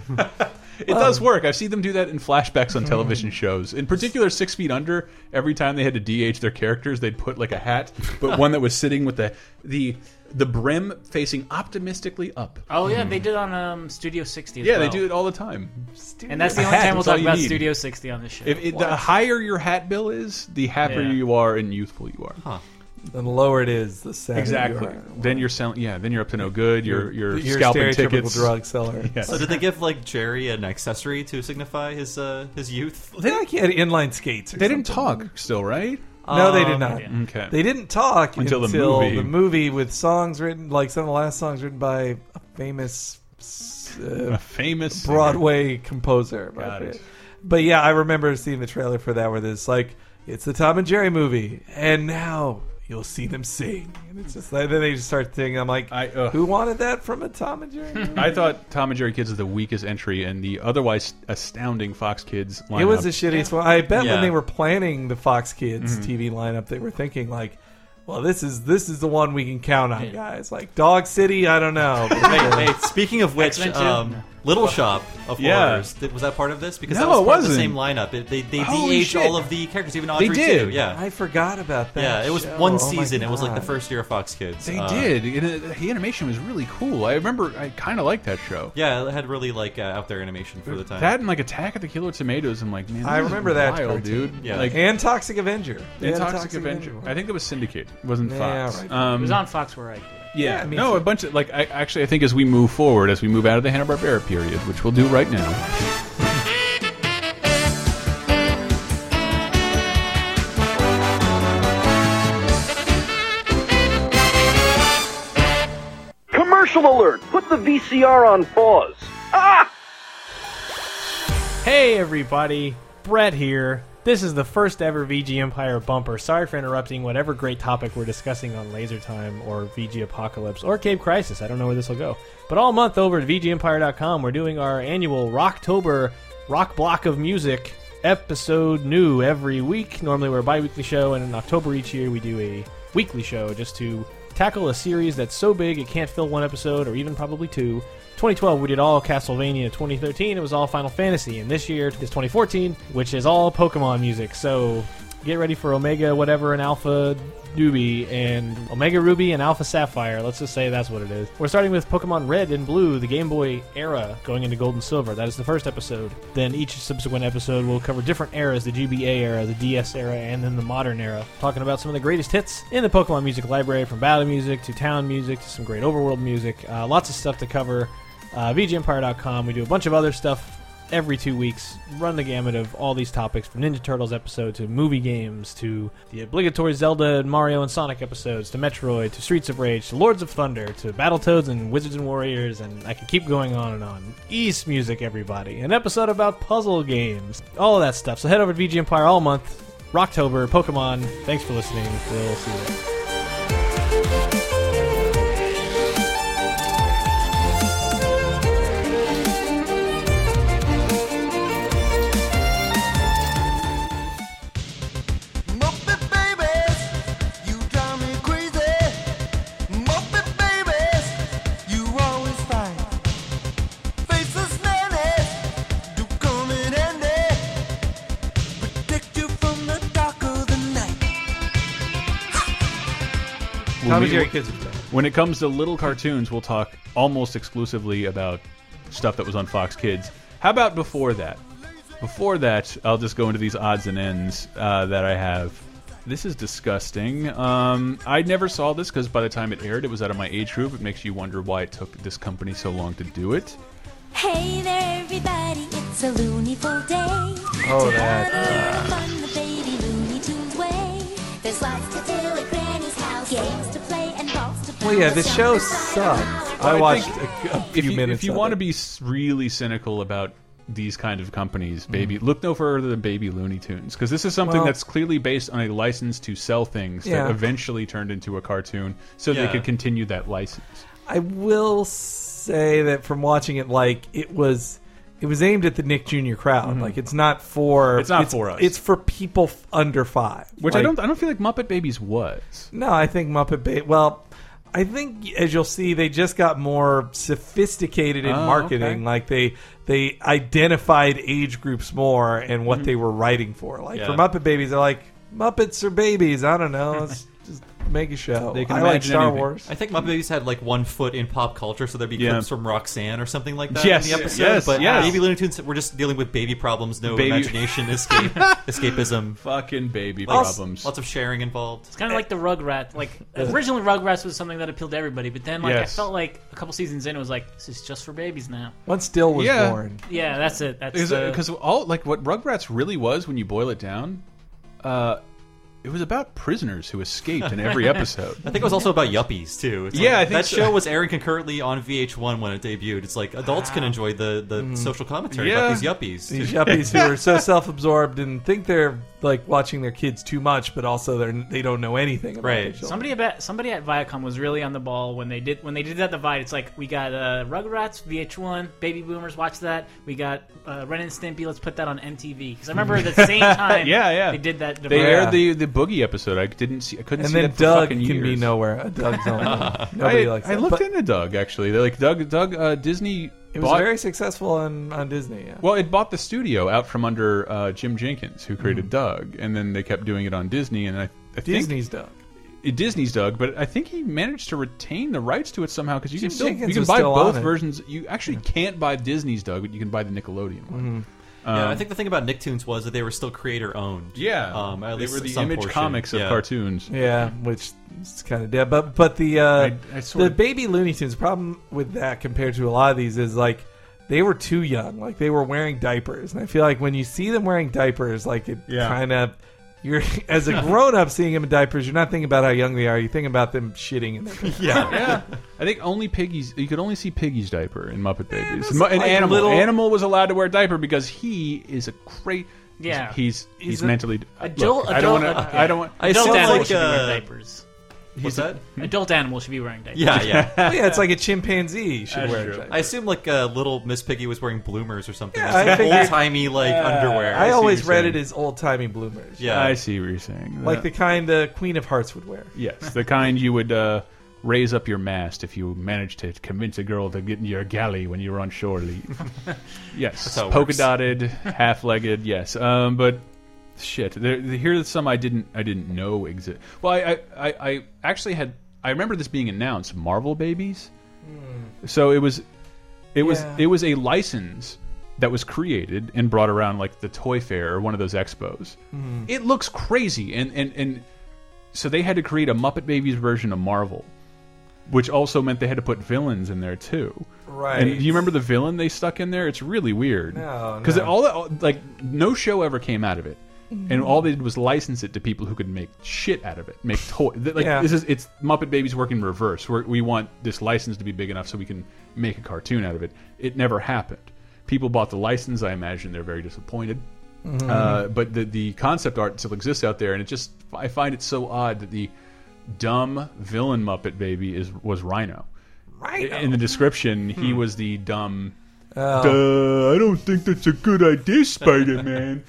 It does work. I've seen them do that in flashbacks on television shows. In particular, Six Feet Under. Every time they had to DH their characters, they'd put like a hat, but one that was sitting with the the the brim facing optimistically up.
Oh yeah, they did on um, Studio 60. As
Yeah, they
well.
do it all the time.
And that's the
A
only
hat
time we'll
is all
talk
you
about
need.
Studio 60 on this show.
If it, the higher your hat bill is, the happier
Yeah.
you are and youthful you are.
it. Then lower it is the sadder you
Exactly.
are.
Then you're selling. Yeah. Then you're up to no good. You're you're,
You're a
scalping
stereotypical
tickets.
drug seller.
Yes.
So did they give like Jerry an accessory to signify his uh, his youth?
They like had inline skates. Or
They didn't
something.
talk still, right?
No, they did
Um,
not.
Oh, yeah.
Okay.
They didn't talk
Until
until,
the movie.
the movie with songs written, like some of the last songs written by a famous uh,
a famous singer.
Broadway composer. but-
Got it.
But yeah, I remember seeing the trailer for that where there's like, it's the Tom and Jerry movie, and now you'll see them sing. And it's just like, then they just start singing. I'm like,
I, uh,
who wanted that from a Tom and Jerry movie?
I thought Tom and Jerry Kids is the weakest entry in the otherwise astounding Fox Kids lineup.
It was the shittiest one. I bet
Yeah. Mm-hmm.
when they were planning the Fox Kids TV lineup, they were thinking like, "Well, this is this is the one we can count on, guys." Like Dog City, I don't know.
hey, hey, speaking of which,
X-Men too?
um,
No.
Little Shop of
Yeah.
Horrors did, was that part of this? Because
No,
that
it
was part of
wasn't.
the same lineup. It, they they
Holy
de-aged
shit.
all of the characters, even
They
Audrey
did.
too. Yeah,
I forgot about that.
yeah. It was
show.
one
Oh my
season. It was like the
God.
first year of Fox Kids.
They
Uh,
did. And, uh, the animation was really cool. I remember. I kind of liked that show.
Yeah, it had really like uh, out there animation for the time.
That and like Attack of the Killer Tomatoes. I'm like, man,
I
this is
remember that
wild,
cartoon.
dude.
Yeah.
Like,
and Toxic Avenger. They
and
had a
Toxic, Avenger.
one.
I think that was Syndicate. It wasn't
Yeah,
Fox.
right.
it
Um,
was on Fox where I grew up.
yeah.
Yeah, me
no,
too.
a bunch of like. I, actually, I think as we move forward, as we move out of the Hanna Barbera period, which we'll do right now.
Commercial alert! Put the VCR on pause.
Hey everybody, Brett here. This is the first ever VG Empire bumper. Sorry for interrupting whatever great topic we're discussing on Laser Time or VG Apocalypse or Cape Crisis. I don't know where this will go. But all month over at VGEmpire.com, we're doing our annual Rocktober Rock Block of Music episode new every week. Normally we're a bi weekly show, and in October each year we do a weekly show just to tackle a series that's so big it can't fill one episode or even probably two. 2012 we did all Castlevania. 2013 it was all Final Fantasy, and this year is 2014, which is all Pokemon music. So get ready for Omega whatever and Alpha Ruby and Omega Ruby and Alpha Sapphire. Let's just say that's what it is. We're starting with Pokemon Red and Blue, the Game Boy era, going into Gold and Silver. That is the first episode. Then each subsequent episode will cover different eras: the GBA era, the DS era, and then the modern era. Talking about some of the greatest hits in the Pokemon music library, from battle music to town music to some great overworld music. Uh, lots of stuff to cover uh, VGEmpire.com. We do a bunch of other stuff every two weeks run the gamut of all these topics from Ninja Turtles episode to movie games to the obligatory Zelda and Mario and Sonic episodes to Metroid to Streets of Rage to Lords of Thunder to Battletoads and Wizards and Warriors and I could keep going on and on. East music, everybody. An episode about puzzle games. All of that stuff. So head over to VG Empire all month. Rocktober, Pokemon. Thanks for listening. We'll see you later.
Muppet babies, you drive me crazy. Muppet babies, you always fight. Faceless nannies, do come in handy. Protect you from the dark of the night.
Tom and
we-
Jerry Kids is better.
When it comes to little cartoons, we'll talk almost exclusively about stuff that was on Fox Kids. How about before that? Before that, I'll just go into these odds and ends uh, that I have. This is disgusting. Um, I never saw this because by the time it aired, it was out of my age group. It makes you wonder why it took this company so long to do it.
Hey there, everybody, it's a loonyful day.
Oh, that.
uh,
Fun the baby Looney Tunes way. There's lots to do at Granny's house, games to play and balls to
Well, yeah, the show sucked. I watched a, a few
if you,
minutes.
If you
of
want
it.
to be s- really cynical about these kind of companies, baby, look no further than Baby Looney Tunes because this is something
Mm. Well-
that's clearly based on a license to sell things
Yeah.
that eventually turned into a cartoon, so
Yeah.
they could continue that license.
I will say that from watching it, like it was, it was aimed at the Nick Jr. crowd.
Mm-hmm.
Like it's not for
It's not for us.
It's for people f- under five.
Which I
Like,
don't, I don't feel like Muppet Babies was.
No, I think Muppet Baby. Well, I think as you'll see, they just got more sophisticated in
Oh,
marketing.
okay.
Like they they identified age groups more and what they were writing for. Like for
Mm-hmm. Yeah.
Muppet Babies, they're like Muppets are babies. I don't know. Let's just make a show.
They can
I like
imagine
Star
anything.
Wars.
I think Muppet Babies had like one foot in pop culture, so there'd be
Yeah.
clips from Roxanne or something like that
Yes,
in the episode.
yes,
but
yes.
Baby Looney Tunes, we're just dealing with baby problems, no
Baby-
imagination, escape, escapism,
fucking baby problems.
lots of sharing involved.
It's kind of like the Rugrats. Like originally, Rugrats was something that appealed to everybody, but then like
Yes.
I felt like a couple seasons in, it was like this is just for babies now.
Once Dill was
Yeah.
born.
Yeah, that's it. That's the-
because all like what Rugrats really was when you boil it down. Uh, it was about prisoners who escaped in every episode.
I think it was also about yuppies too. It's
Yeah,
like,
I think
that
so.
show was airing concurrently on VH1 when it debuted. It's like adults can enjoy the, the
Mm-hmm.
social commentary about these yuppies. too.
These yuppies who are so self-absorbed and think they're like watching their kids too much, but also they're they don't know anything about their children.
Somebody about somebody at Viacom was really on the ball when they did when they did that divide. It's like we got uh, Rugrats, VH1, Baby Boomers, watch that. We got uh, Ren and Stimpy. Let's put that on MTV because I remember at the same time.
yeah, yeah.
They did that.
They
divide.
aired the the boogie episode. I didn't see. I couldn't
And
see
then
that for
Doug
fucking
can be
years.
nowhere. Doug's only- nobody
I,
likes
I
that.
looked
But-
into Doug actually. They're like Doug. Doug uh, Disney.
It was
bought,
very successful on on Disney. Yeah.
well, it bought the studio out from under uh, Jim Jenkins, who created
Mm-hmm.
Doug, and then they kept doing it on Disney. And I, I think
Disney's Doug.
It, Disney's Doug, but I think he managed to retain the rights to it somehow because you
Jim
can still
Jenkins
you can
was
buy
still
both
on it.
versions. You actually can't buy Disney's Doug, but you can buy the Nickelodeon one.
Mm-hmm.
yeah, I
Um,
think the thing about Nicktoons was that they were still creator owned.
Yeah,
um, at
they
least
were the
some
image
portion.
comics of
Yeah.
cartoons.
Yeah, which is kind of dead. But but the uh,
I sort
the
of-
baby Looney Tunes problem with that compared to a lot of these is like they were too young. Like they were wearing diapers, and I feel like when you see them wearing diapers, like it
Yeah.
kind of you're as a grown up seeing them in diapers, you're not thinking about how young they are. You think about them shitting in their pants.
yeah. I think only Piggy's. You could only see Piggy's diaper in Muppet Babies.
was
Mu- An
like
animal.
little-
Animal was allowed to wear a diaper because he is a great.
Yeah.
he's he's,
He's a-
mentally.
adult-
look, I don't
adult-
want to.
yeah.
I don't want.
I Adult assume animals like, should be wearing uh,
diapers.
What's
that?
Adult animals should be wearing diapers.
Well, yeah. It's like a chimpanzee should
That's
wear.
true.
a diaper.
I assume like uh, little Miss Piggy was wearing bloomers or something.
Yeah, I figured-
old timey like
Yeah.
underwear.
I,
see
always
what you're
read
saying.
it as old timey bloomers.
Yeah.
I see what you're saying.
like
That-
the kind the Queen of Hearts would wear.
yes, the kind you would uh, raise up your mast if you managed to convince a girl to get in your galley when you were on shore leave. yes,
That's how it
polka
works.
dotted, half legged. Yes, um, but shit, there, there- here's some I didn't I didn't know exist. Well, I, I I I actually had I remember this being announced. Marvel Babies. So it was, it was
Yeah.
it was a license that was created and brought around like the Toy Fair or one of those expos.
Mhm.
It looks crazy, and and and so they had to create a Muppet Babies version of Marvel. which also meant they had to put villains in there too.
Right.
And do you remember the villain they stuck in there? It's really weird.
No,
Because
no.
all that, like no show ever came out of it. And
Mhm.
all they did was license it to people who could make shit out of it, make toy. th- Like
Yeah.
this is it's Muppet Babies working reverse. Where we want this license to be big enough so we can make a cartoon out of it. It never happened. People bought the license. I imagine they're very disappointed.
Mhm.
Uh, but the the concept art still exists out there, and it just I find it so odd that the dumb villain Muppet Baby is was Rhino.
Rhino.
In the description, he was the dumb.
Oh.
"Duh, I don't think that's a good idea, Spider Man.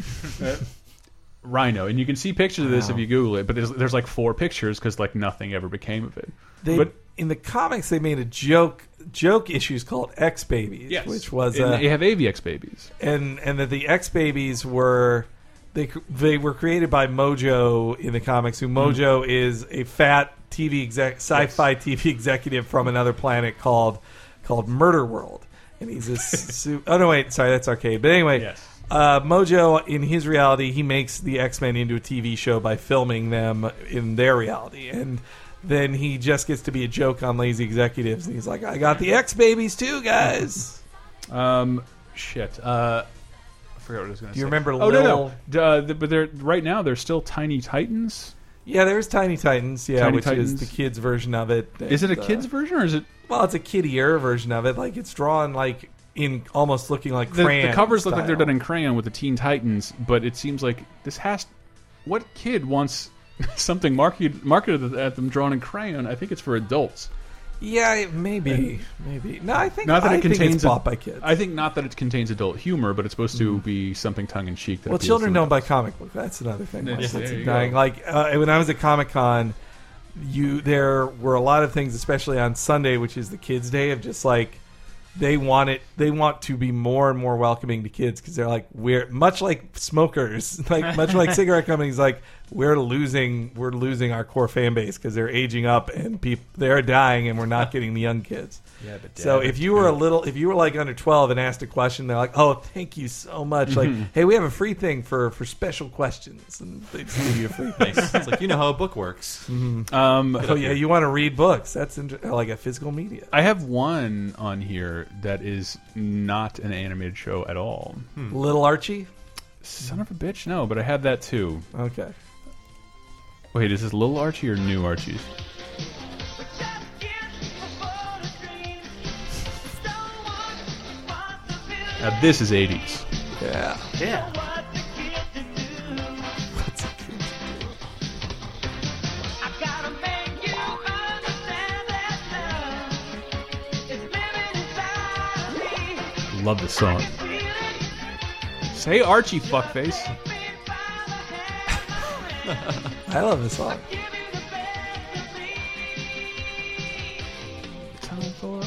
Rhino, and you can see pictures of this
Wow.
if you Google it. But there's there's like four pictures because like nothing ever became of it.
They
but
in the comics they made a joke joke issues called X Babies,
Yes.
which was
And
uh,
they have AVX babies.
and and that the X Babies were they cr- they were created by Mojo in the comics. Who
Mm-hmm.
Mojo is a fat TV exec, sci-fi TV executive from another planet called called Murder World, and he's a su- oh no wait sorry that's arcade. But anyway, uh, Mojo in his reality he makes the X Men into a TV show by filming them in their reality and. Then he just gets to be a joke on lazy executives, and he's like, "I got the X babies too, guys."
Um, shit. Uh, I forgot what I was going to say.
Do you remember
Oh no,
Lil-
no. Uh, th- but they're right now. They're still Tiny Titans.
Yeah, there's Tiny Titans, yeah,
Tiny
which
Titans.
is the kids version of it. uh,
Is it a kids version or is it?
Well, it's a kiddier version of it. Like it's drawn like in almost looking like
The,
crayon.
the covers look like they're
style.
done in crayon with the Teen Titans, but it seems like this has. What kid wants something marketed marketed at them drawn in crayon? I think it's for adults.
Yeah, it- maybe, maybe. No, I think
Not that
I
it
think
contains
it's bought
a-
by kids. Mm-hmm.
I think not that it contains adult humor, but it's supposed to be something tongue in cheek. That
Well,
appeals
children
to
don't buy comic books. That's another thing.
Yeah,
Like,
there
it's
you
dying.
go.
Like uh, when I was at Comic Con, you there were a lot of things, especially on Sunday, which is the kids' day, of just like they want it. They want to be more and more welcoming to kids because they're like we're much like smokers, like much like cigarette companies. Like we're losing, we're losing our core fan base because they're aging up and people they're dying, and we're not getting the young kids.
Yeah, but
so
Dad,
if you were a little, if you were like under twelve and asked a question, they're like, "Oh, thank you so much." Like,
Mhm.
hey, we have a free thing for for special questions, and they just give you a free thing.
Nice. It's like, you know how a book works.
Mhm.
Um,
oh yeah, you want to read books? That's inter- like a physical media.
I have one on here that is not an animated show at all.
Mm.
Little Archie.
Son of a bitch, no, but I have that too.
Okay.
Wait, is this Little Archie or New Archie's? Now Uh, this is 80s.
Yeah.
Yeah.
Love this song. Say Archie, fuckface.
I love this song.
Time for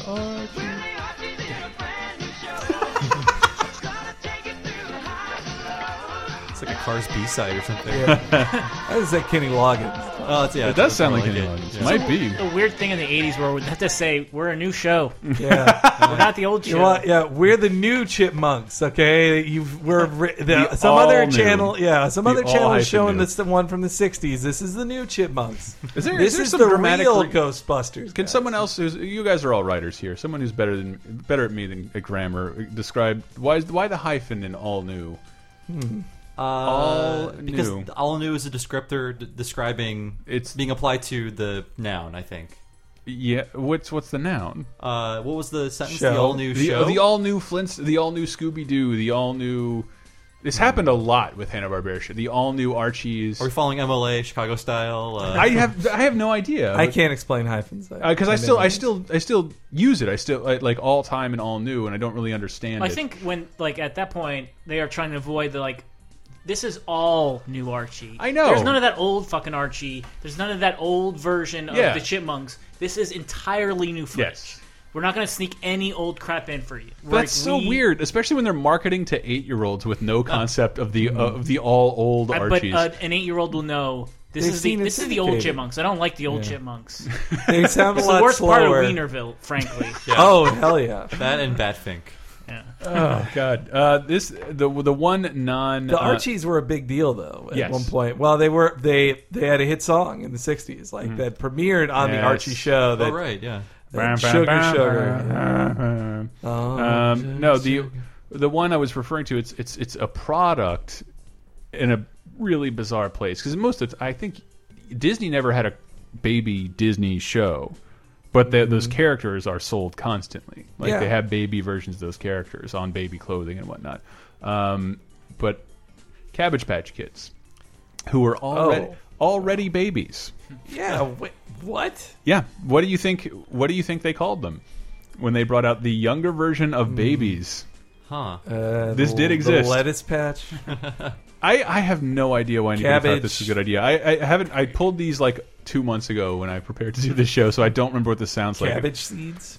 It's like a Cars B side or something.
Yeah. I was like Kenny Loggins.
Oh, it's, yeah,
It does sound like
it.
Kenny Loggins. Might be.
The weird thing in the 80s where we have to say, we're a new show.
Yeah.
we're not the old
You
show.
know what? yeah, we're the new chipmunks. Okay, you've we're ri- the,
The
some other
all new.
channel. Yeah, some
The
other
all
channel
hyphen
is showing
new.
this the one from the '60s. This is the new chipmunks.
Is there, is
this
there
is
some
the
dramatic
real
re-
Ghostbusters?
Can someone else? Who's, you guys are all writers here. Someone who's better than better at me than at grammar. Describe why is why the hyphen in all new?
Hmm. Uh,
all
because
new.
all new is a descriptor d- describing it's being applied to the noun. I think.
Yeah. What's what's the noun?
Uh, what was the sentence? The all new
the, uh,
show.
The all new Flint's. The all new Scooby Doo. The all new. This happened a lot with Hanna Barbera. shit. The all new Archie's.
Are we following MLA Chicago style? Uh,
I have I have no idea.
I can't explain hyphens though.
because Uh, I
I
still
never
I
did.
still I still use it. I still I, like all time and all new, and I don't really understand.
I
it.
think when, like, at that point, they are trying to avoid the, like, this is all new Archie.
I know.
There's none of that old fucking Archie. There's none of that old version of
Yeah.
the Chipmunks. This is entirely new footage. We're not going to sneak any old crap in for you. We're
That's so
like, we-
weird, especially when they're marketing to eight-year-olds with no concept of the uh, of the all old
I-
Archies.
But uh, an eight-year-old will know this
They've
is the
seen it
this is the old
syndicated.
chipmunks. I don't like the old
Yeah.
chipmunks.
They sound a
it's
lot
the worst part of
slower.
Wienerville, frankly.
Yeah.
Oh hell yeah!
That and Batfink.
Yeah.
Oh God! Uh, this the the one non
The
uh,
Archies were a big deal though at
Yes.
one point. Well, they were they they had a hit song in the '60s, like
Mhm.
that premiered on
Yes.
the Archie show. That,
Oh, right, yeah.
that Sugar Sugar. Oh,
Um, no, the the one I was referring to it's it's it's a product in a really bizarre place because most of the, I think Disney never had a baby Disney show, but the, those characters are sold constantly. Like
Yeah.
they have baby versions of those characters on baby clothing and whatnot. Um, but Cabbage Patch Kids, who were already already babies.
yeah. Wait, what?
Yeah. What do you think? What do you think they called them when they brought out the younger version of babies?
Huh.
Uh,
This
the-
did exist.
The lettuce patch.
I, I have no idea why anybody thought
Cabbage.
this was a good idea. I, I haven't. I pulled these like two months ago when I prepared to do this show, so I don't remember what this sounds like.
Cabbage seeds.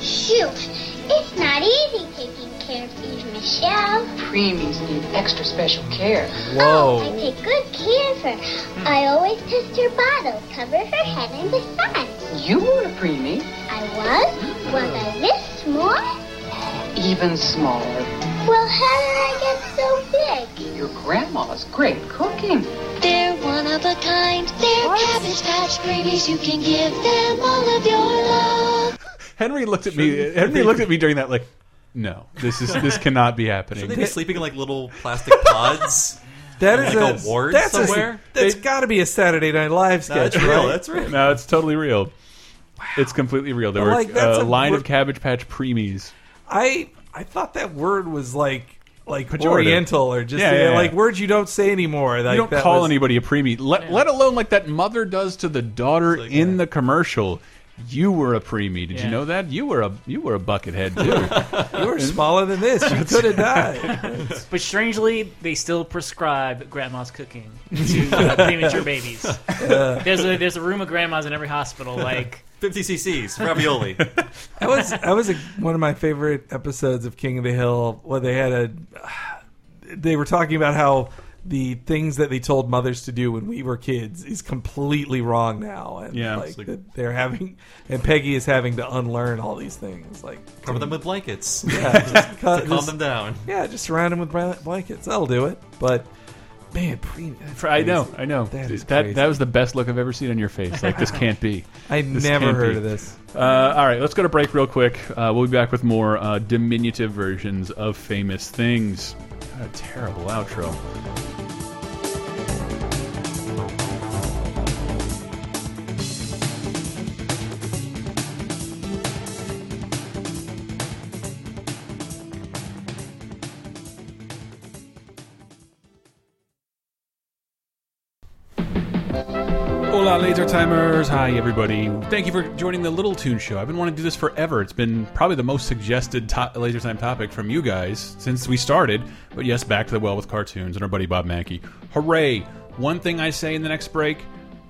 Shoot, it's not easy taking care of Eve Michelle. Oh,
Preemies need extra special care.
I take good care of
Hmm.
her. I always test her bottle, cover her head in the sun.
You want a preemie?
I was, was I
Hmm.
this small?
Even smaller.
Well, how did I get so big?
Your grandma's great cooking.
They're one of a kind. They're Cabbage Patch Babies. You can give them all of your love.
Henry looked at me. Henry looked at me during that like, no, this is this cannot be happening.
Should they be sleeping in like little plastic pods?
That
in,
is
like
a,
ward
that's a-
somewhere.
that's got to be a Saturday Night Live
No,
sketch,
that's real,
right?
that's real.
No, it's totally real. It's completely real. There
But,
were
like, that's
uh,
a-
a line of Cabbage Patch preemies.
I I thought that word was like like
Pejorative.
Oriental or just
Yeah, yeah, yeah.
like words you don't say anymore. Like
you don't
that
call
was-
anybody a preemie, let, let alone like that mother does to the daughter in the commercial. You were a preemie. Did you
Yeah.
know that? You were a you were a buckethead too.
you were smaller than this. You could have died.
But strangely, they still prescribe grandma's cooking to uh, premature babies.
Yeah.
There's a there's a room of grandmas in every hospital. Like
50 cc's ravioli.
I was I was a, one of my favorite episodes of King of the Hill where they had a they were talking about how the things that they told mothers to do when we were kids is completely wrong now and
Yeah.
like,
It's like-
that they're having and Peggy is having to unlearn all these things like
Cover them with blankets.
yeah just
To
cut-
calm
just-
them down.
yeah just surround them with bra- blankets that'll do it but man pre- that's
I know,
crazy.
I know.
that is
that
crazy.
that was the best look I've ever seen on your face. Like this can't be.
I
This
never
can't
heard of this.
Uh, all right, let's go to break real quick. Uh, we'll be back with more uh, diminutive versions of famous things. What a terrible outro. Hola, laser timers. Hi, everybody. Thank you for joining the Little Tune Show. I've been wanting to do this forever. It's been probably the most suggested to laser time topic from you guys since we started. But yes, back to the well with cartoons and our buddy Bob Mackey. Hooray! One thing I say in the next break,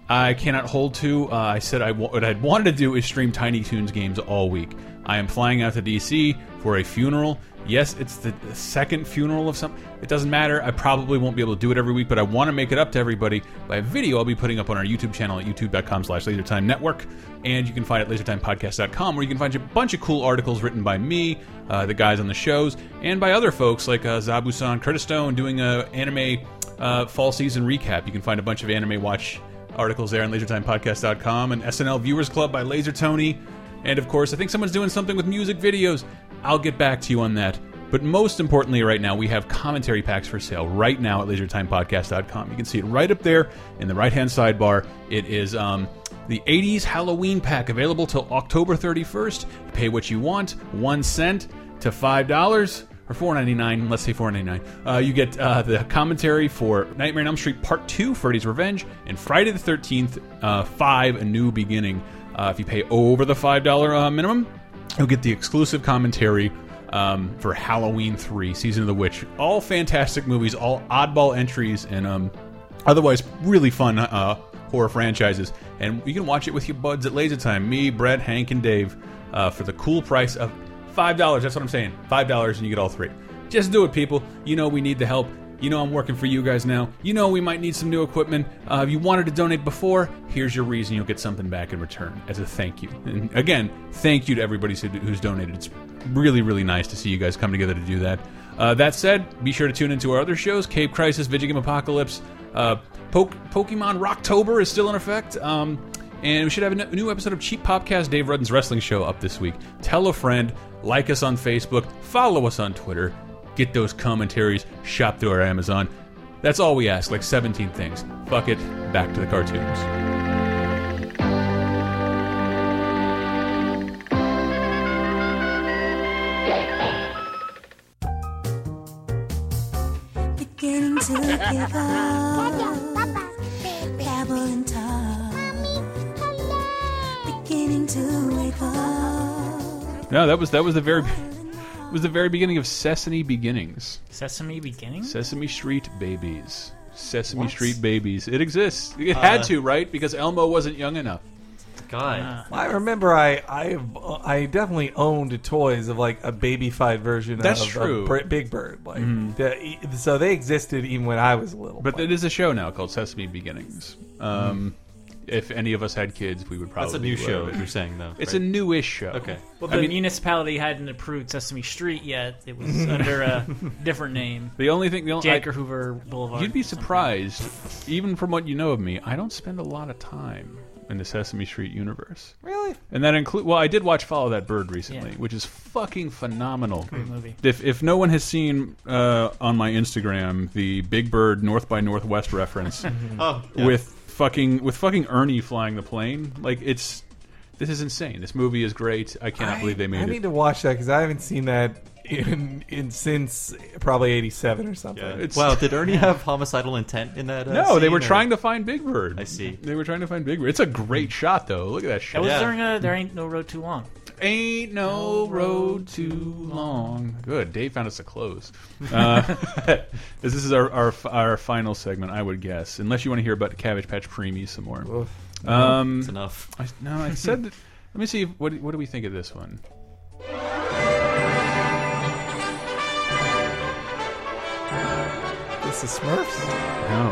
I cannot hold to. Uh, I said I wa- what I'd wanted to do is stream Tiny Toons games all week. I am flying out to DC for a funeral. Yes, it's the the second funeral of some. It doesn't matter. I probably won't be able to do it every week, but I want to make it up to everybody by a video I'll be putting up on our YouTube channel at youtube.com slash lasertime network. And you can find it at lasertimepodcast.com where you can find a bunch of cool articles written by me, uh, the guys on the shows, and by other folks like uh, Zabu-san, Curtis Stone doing a anime uh, fall season recap. You can find a bunch of anime watch articles there on lasertimepodcast.com and SNL Viewers Club by Laser Tony. And of course, I think someone's doing something with music videos. I'll get back to you on that. But most importantly, right now, we have commentary packs for sale right now at lasertimepodcast.com. You can see it right up there in the right hand sidebar. It is um, the 80s Halloween pack available till October 31st. You pay what you want, one cent to $5 or four ninety nine. Let's say four ninety nine. Uh, you get uh, the commentary for Nightmare on Elm Street Part Two, Freddy's Revenge, and Friday the Thirteenth uh, Five: A New Beginning. Uh, if you pay over the five dollar uh, minimum, you'll get the exclusive commentary. Um, for Halloween 3, Season of the Witch. All fantastic movies, all oddball entries, and um, otherwise really fun uh, horror franchises. And you can watch it with your buds at Laser Time. Me, Brett, Hank, and Dave uh, for the cool price of Five dollars. That's what I'm saying. Five dollars, and you get all three. Just do it, people. You know we need the help. You know I'm working for you guys now. You know we might need some new equipment. Uh, if you wanted to donate before, here's your reason. You'll get something back in return as a thank you. And again, thank you to everybody who- who's donated. It's really, really nice to see you guys come together to do that. Uh, that said, be sure to tune into our other shows: Cape Crisis, Video Game Apocalypse, uh, Poke Pokemon Rocktober is still in effect. Um, and we should have a n- new episode of Cheap Popcast Dave Rudden's Wrestling Show up this week. Tell a friend, like us on Facebook, follow us on Twitter, get those commentaries, shop through our Amazon. That's all we ask, like 17 things. Fuck it, back to the cartoons.
beginning to give up. Babble and talk. Beginning to wake up.
No, that was that was the very was the very beginning of Sesame Beginnings.
Sesame Beginnings?
Sesame Street Babies. Sesame
What?
Street Babies. It exists. It had
Uh,
to, right? Because Elmo wasn't young enough.
God.
Uh,
I remember I I I definitely owned toys of like a baby-fied version
That's
of, of
true.
Br- Big Bird. Like
Mhm.
the- e, so they existed even when I was little.
But it is a show now called Sesame Beginnings. Um, If any of us had kids, we would probably.
That's a new
love
show,
it.
you're saying, though,
It's
right?
a newish show.
Okay.
Well,
I
the
mean,
municipality hadn't approved Sesame Street yet. It was under a different name.
the only thing, the only,
J. Edgar Hoover Boulevard.
You'd be surprised, even from what you know of me. I don't spend a lot of time in the Sesame Street universe.
Really?
And that include well, I did watch Follow That Bird recently,
Yeah.
which is fucking phenomenal.
Great movie.
If if no one has seen uh, on my Instagram the Big Bird North by Northwest reference
Mm-hmm.
Oh, yeah.
with fucking with fucking Ernie flying the plane, like it's this is insane. This movie is great. I cannot believe they made
I
it.
need to watch that because I haven't seen that in, in since probably '87 or something.
Yeah. Wow, did Ernie have homicidal intent in that? Uh,
no, they
scene,
were
or-
trying to find Big Bird.
I see. Hmm.
They were trying to find Big Bird. It's a great shot though. Look at that shot.
That was during a There Ain't No Road Too Long.
Ain't no road too long. Good. Dave found us a close. Uh, this is our, our our final segment, I would guess. Unless you want to hear about Cabbage Patch Premies some more.
No, it's enough.
I, no, I said. That, let me see. What what do we think of this one?
This is Smurfs.
No,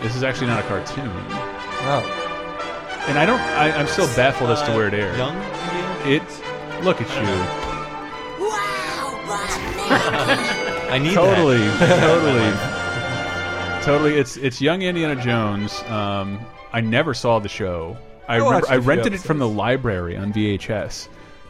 this is actually not a cartoon.
Oh,
and I don't. I, I'm still baffled as to
Uh,
where it aired.
Young
It. Look at you.
I need
totally,
that.
totally, totally. It's it's young Indiana Jones. Um, I never saw the show. I
I watched
remember, I
a few
rented it from the library on VHS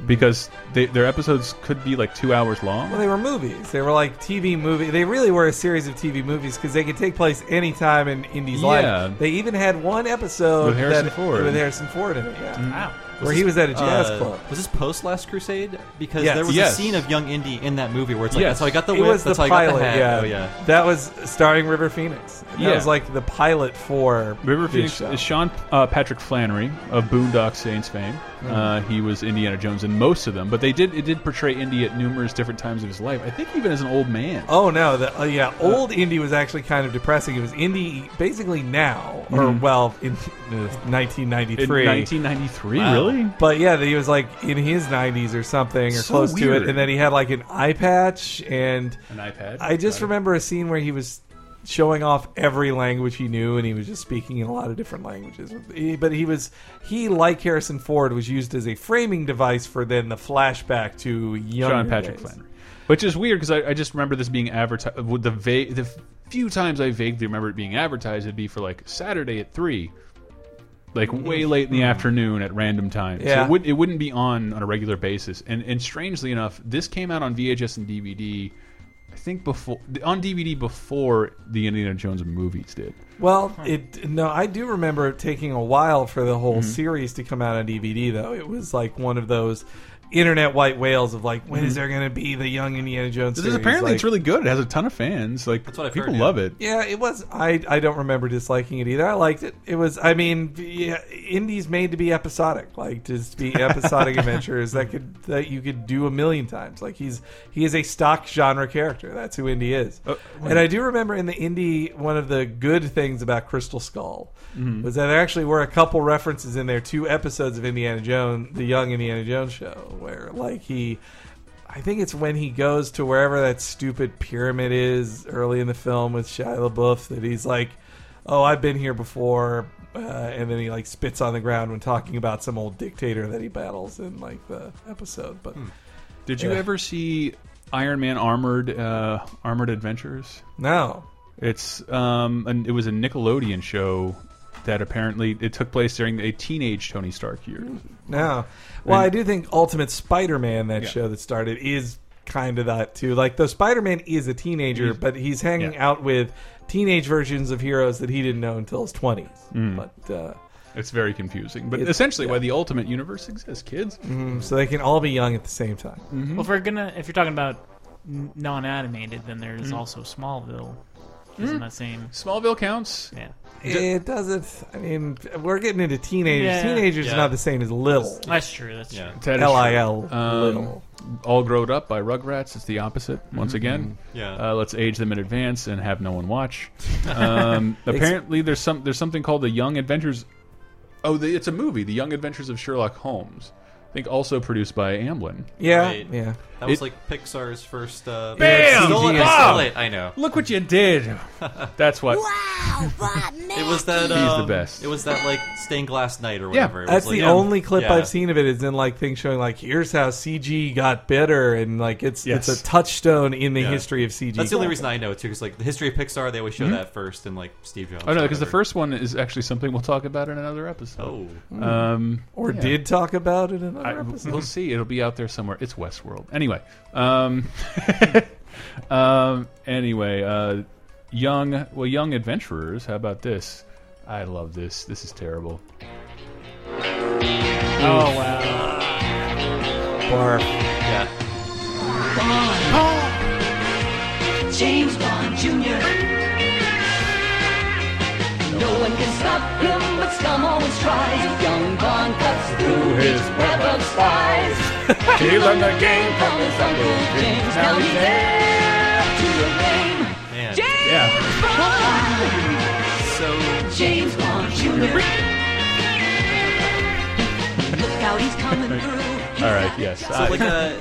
because they, their episodes could be like two hours long.
well, they were movies. They were like TV movie. They really were a series of TV movies because they could take place anytime in Indy's
Yeah.
life. They even had one episode
With Harrison
that,
Ford. Mm-hmm.
with Harrison Ford in it. Yeah.
Wow.
Where he was at a jazz
uh,
club.
Was this post Last Crusade? Because
Yes.
there was
Yes.
a scene of young Indy in that movie where it's like,
Yes.
that's how I got the
It
whip,
was
that's
the
how I got
pilot,
the hat.
yeah.
Oh, yeah.
That was starring River Phoenix. That
Yeah.
was like the pilot for
River
this
Phoenix
show.
is Sean uh, Patrick Flannery of Boondock Saints fame.
Mm-hmm.
Uh, he was Indiana Jones in most of them, but they did it did portray Indy at numerous different times of his life. I think even as an old man.
Oh no, the, uh, yeah, old indie was actually kind of depressing. It was indie basically now, or
Mhm.
well, in uh, 1993.
In 1993, really?
But yeah, that he was like in his 90s or something, or
So
close to
weird.
it, and then he had like an eye patch and
An eye patch,
I just
got it.
remember a scene where he was showing off every language he knew, and he was just speaking in a lot of different languages. He- But he was he like Harrison Ford was used as a framing device for then the flashback to young
Sean Patrick Flannery. Which is weird because I, I just remember this being advertised. The va- the few times I vaguely remember it being advertised, it'd be for like Saturday at three, like way late in the afternoon at random times. So
Yeah.
it, would, it wouldn't be on on a regular basis. And and strangely enough, this came out on VHS and DVD. I think before on DVD before the Indiana Jones movies did.
Well, it no, I do remember it taking a while for the whole
Mhm.
series to come out on DVD though. It was like one of those internet white whales of like when is
Mhm.
there going to be the young Indiana Jones
This
series?
is apparently
Like,
it's really good. It has a ton of fans. Like
That's what I've
people
heard, yeah.
love it.
Yeah, it was. I I don't remember disliking it either. I liked it. It was. I mean, yeah, Indy's made to be episodic, like just be episodic adventures that could that you could do a million times. Like he's he is a stock genre character. That's who Indy is. and I do remember in the Indy one of the good things about Crystal Skull
Mhm.
was that there actually were a couple references in there to episodes of Indiana Jones, the Young Indiana Jones show, where like he. I think it's when he goes to wherever that stupid pyramid is early in the film with Shia LaBeouf that he's like, "Oh, I've been here before," uh, and then he like spits on the ground when talking about some old dictator that he battles in like the episode. But
Hmm. Did you
Yeah.
ever see Iron Man Armored uh, Armored Adventures?
No.
It's um, an, it was a Nickelodeon show that apparently it took place during a teenage Tony Stark years.
No. Well,
And-
I do think Ultimate Spider-Man, that
Yeah.
show that started, is kind of that too. Like, though Spider-Man is a teenager,
He's-
but he's hanging out with teenage versions of heroes that he didn't know until his twenties.
Mm.
But uh,
it's very confusing. But
it-
essentially, why the Ultimate Universe exists, kids.
Mm, so they can all be young at the same time.
Mm-hmm.
Well, if we're gonna, if you're talking about n- non-animated, then there's
Mm.
also Smallville.
Mm-hmm.
Isn't that same?
Smallville counts.
Yeah.
It doesn't. I mean, we're getting into teenagers.
Yeah.
Teenagers is
Yeah.
not the same as little.
That's true. That's true.
That is true.
L.I.L.,
Um,
little.
All Growed Up by Rugrats. It's the opposite once
Mhm.
again.
Yeah.
Uh, let's age them in advance and have no one watch. Um,
Ex-
apparently, there's some there's something called the Young Adventures. Oh, the, it's a movie, The Young Adventures of Sherlock Holmes. I think also produced by Amblin.
Right. That was like Pixar's first. Uh,
Bam!
Stole it, I
Wow!
stole it, I know.
Look what you did. That's what.
It was that.
He's the
um,
best.
It was that like stained glass night or
Yeah.
whatever. It was
That's
like-
the only clip
Yeah.
I've seen of it. Is in like things showing like here's how CG got better and like it's it's
Yes.
a touchstone in the
Yeah.
history of CG.
That's the only reason I know it too, because like the history of Pixar, they always show
Mhm.
that first, and like Steve Jobs.
Oh no,
or
because the
whatever.
first one is actually something we'll talk about in another episode.
Oh.
um,
or
yeah.
did talk about it in another
I-
episode.
Oh, We'll see. It'll be out there somewhere. It's Westworld. Anyway, um, um, anyway, uh, young well, young adventurers. How about this? I love this. This is terrible.
Oh wow.
Barf.
Yeah.
James Bond Jr. No one can stop him, but scum always tries. Young Bond cuts through his web of spies.
He learned the
game from his Uncle James. Now he's heir to the fame.
Man.
James
Yeah.
Bond!
So
James Bond Jr. Look out, he's coming through.
All right. Yes.
So
I-
like, uh,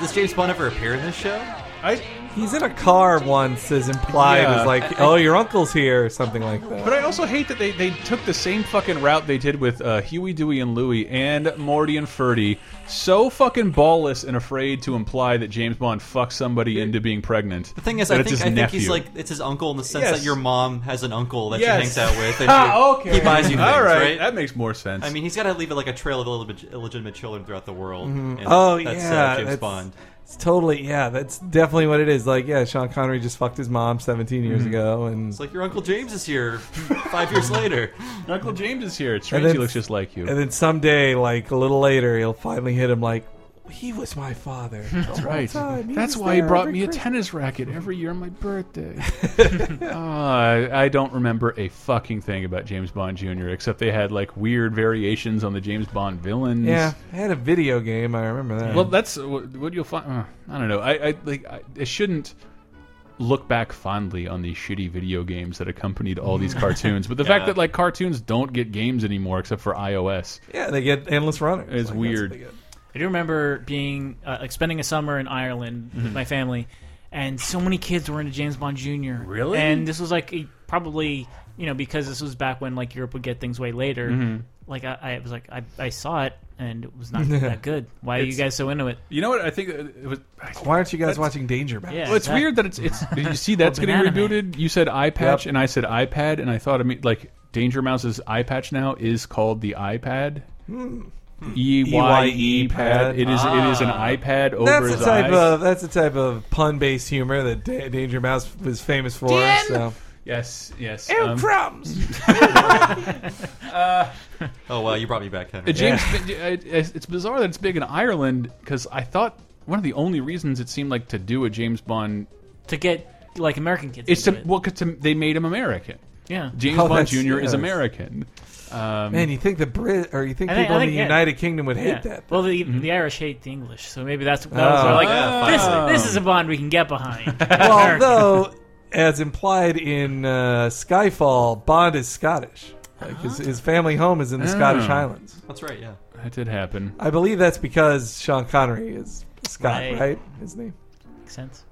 does James Bond ever appear in this show?
I.
He's in a car once, is implied
Yeah.
as like,
I- I-
oh, your uncle's here, or something like that.
But I also hate that they, they took the same fucking route they did with uh, Huey, Dewey, and Louie and Morty and Ferdy. So fucking ballless and afraid to imply that James Bond fucks somebody into being pregnant.
The thing is,
that
I
it's
think,
his
I think
nephew.
he's like it's his uncle in the sense
Yes.
that your mom has an uncle that
Yes.
she hangs out with. And
Ah,
she-
okay.
He buys you things,
All right,
right.
that makes more sense.
I mean, he's got to leave it like a trail of illegit- illegitimate children throughout the world.
Mhm.
and
Oh
that's,
yeah,
uh, James
that's-
Bond.
It's totally yeah. That's definitely what it is. Like yeah, Sean Connery just fucked his mom 17 years
Mhm.
ago, and
It's like your uncle James is here five years later.
Your uncle James is here. It's
and
strange. he looks just like you.
And then someday, like a little later, he'll finally hit him like, he was my father.
That's right. That's why he brought me a tennis racket every year on my birthday. Ah, I don't remember a fucking thing about James Bond Jr. except they had like weird variations on the James Bond villains.
Yeah, I had a video game. I remember that.
Well, that's what, what you'll find. uh, I don't know. I, I like. I, I shouldn't look back fondly on these shitty video games that accompanied all these cartoons, but the fact
Yeah.
that like cartoons don't get games anymore except for iOS.
yeah, they get endless
It's
runners. Like, that's
weird.
what they get.
I do remember being uh, like spending a summer in Ireland with
Mhm.
my family, and so many kids were into James Bond Jr.
Really?
And this was like a, probably you know because this was back when like Europe would get things way later.
Mhm.
Like I, I was like I, I saw it and it was not that good. Why are you
It's-
guys so into it?
You know what? I think uh, it was.
Why aren't you guys
That's-
watching Danger Mouse?
Yeah,
well, it's
exact-
weird that it's it's. You see, that's
Or
getting
banana man.
rebooted. You said eye patch,
Yep.
and I said iPad, and I thought I mean like Danger Mouse's eye patch now is called the iPad.
Hmm.
E Y E pad. It is it is an
Ah.
iPad over
that's
his
the type
eyes.
of that's the type of pun based humor that Da- Danger Mouse was famous for.
Damn.
So
Yes, yes.
Ew,
um,
crumbs!
uh,
Oh wow, you brought me back, Henry.
Uh, James, it- it's it's bizarre that it's big in Ireland because I thought one of the only reasons it seemed like to do a James Bond
to get like American kids.
is to
into it.
well, 'cause to, they made him American.
Yeah.
James
Oh,
Bond
that's-
Jr.
yes.
is American. Um,
man, you think the Brit or you think
I
people
I
in the
yeah.
United Kingdom would hate
Yeah.
that?
Well, the, the Irish hate the English, so maybe that's that
Oh.
was they're like uh,
Ah, finally.
this.
Oh.
This is a bond we can get behind.
well, though, as implied in uh, Skyfall, Bond is Scottish. Like his, his family home
Oh.
is in the Scottish Highlands.
That's right. Yeah.
That did happen.
I believe that's because Sean Connery is Scott,
Right.
right? His name.
Makes sense.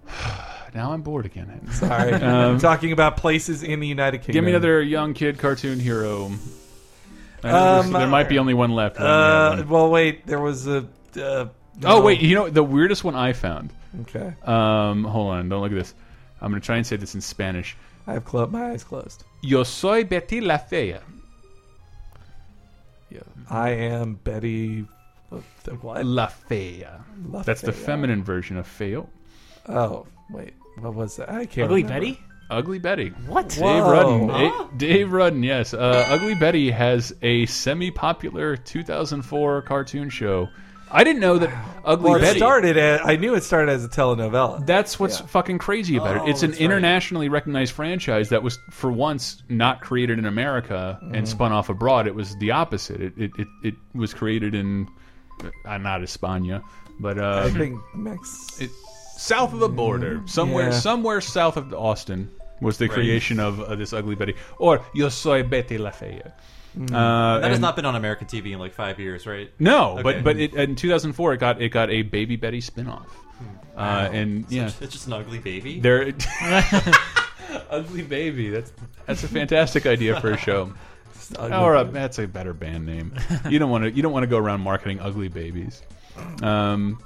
Now I'm bored again.
Sorry.
Um,
Talking about places in the United Kingdom.
Give me another young kid cartoon hero. I know
Um,
there's- there might be only one left. I only have
Uh, well, wait. There was a. Uh,
Oh wait, you know the weirdest one I found.
Okay.
Um, hold on, don't look at this. I'm gonna try and say this in Spanish.
I have clo- my eyes closed.
Yo soy Betty la fea.
I am Betty. What? the- what?
La fea.
La
That's the
Fea.
feminine version of feo.
Oh wait, what was that? I can't.
Ugly
remember.
Betty?
Ugly Betty.
What?
Dave
Whoa.
Rudden.
Huh?
eh, Dave Rudden. Yes. Uh, Ugly Betty has a semi-popular 2004 cartoon show. I didn't know that Ugly
Well, it
Betty
started. As, I knew it started as a telenovela.
That's what's fucking crazy about
Oh,
it. It's an internationally recognized franchise that was, for once, not created in America and
Mhm.
spun off abroad. It was the opposite. It it, it, it was created in, uh, not España, but uh,
I think Mex.
it, south of the border, somewhere
Yeah.
somewhere south of Austin, was the
Right.
creation of uh, this ugly Betty or Yo Soy Betty La Fea. Uh,
Mm-hmm.
that has
and-
not been on American TV in like five years, right?
no,
Okay.
but but it, in 2004 it got it got a Baby Betty spinoff,
Hmm.
uh, and
So
yeah,
it's- it's just an ugly baby?
There, ugly baby. That's that's a fantastic idea for a show.
ugly
Or a,
baby.
that's a better band name. You don't want to you don't want to go around marketing ugly babies. Um,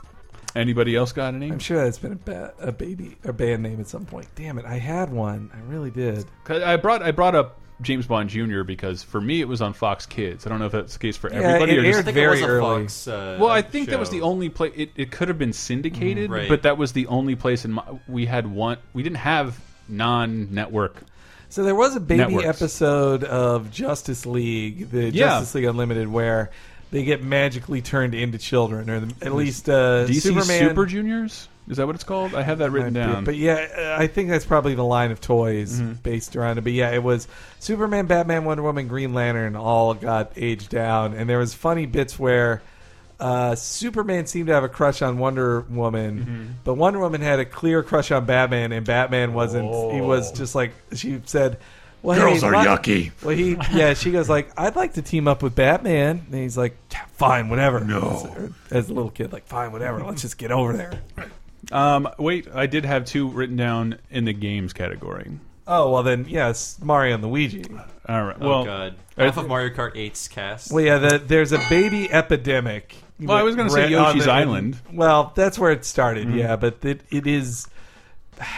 anybody else got any?
I'm sure that's been a, ba- a baby a band name at some point. Damn it, I had one. I really did.
'Cause I brought I brought up James Bond Jr. because for me it was on Fox Kids. I don't know if that's the case for
Yeah,
everybody.
it
or just-
aired I think it was very a early. Fox, uh,
well, I think that was
show.
the only place. It, it could have been syndicated,
Mhm. Right.
but that was the only place in my we had one. We didn't have non-network.
So there was a baby
Networks.
episode of Justice League, the
Yeah.
Justice League Unlimited, where they get magically turned into children, or the, at least uh,
DC
Superman.
Super Juniors. Is that what it's called? I have that written
Might be.
down. Mm-hmm.
But yeah, uh, I think that's probably the line of toys based around it. But yeah, it was Superman, Batman, Wonder Woman, Green Lantern all got aged down, and there was funny bits where uh, Superman seemed to have a crush on Wonder Woman,
Mm-hmm.
but Wonder Woman had a clear crush on Batman, and Batman wasn't. He was
Oh.
just like she said. Well,
Girls
hey,
are
why-
yucky.
Well, he yeah. She goes like, "I'd like to team up with Batman," and he's like, "Yeah, "Fine, whatever." No, as a little kid, like, "Fine, whatever. Let's just get over there."
Um, wait, I did have two written down in the games category.
Oh well, then yes, Mario and Luigi.
All right.
Oh,
Well,
God.
I-
Half of Mario Kart 8's cast.
Well, yeah, the, there's a baby epidemic.
Well, I was gonna say
Right
Yoshi's
on the-
Island.
Well, that's where it started.
Mhm.
Yeah, but it, it is.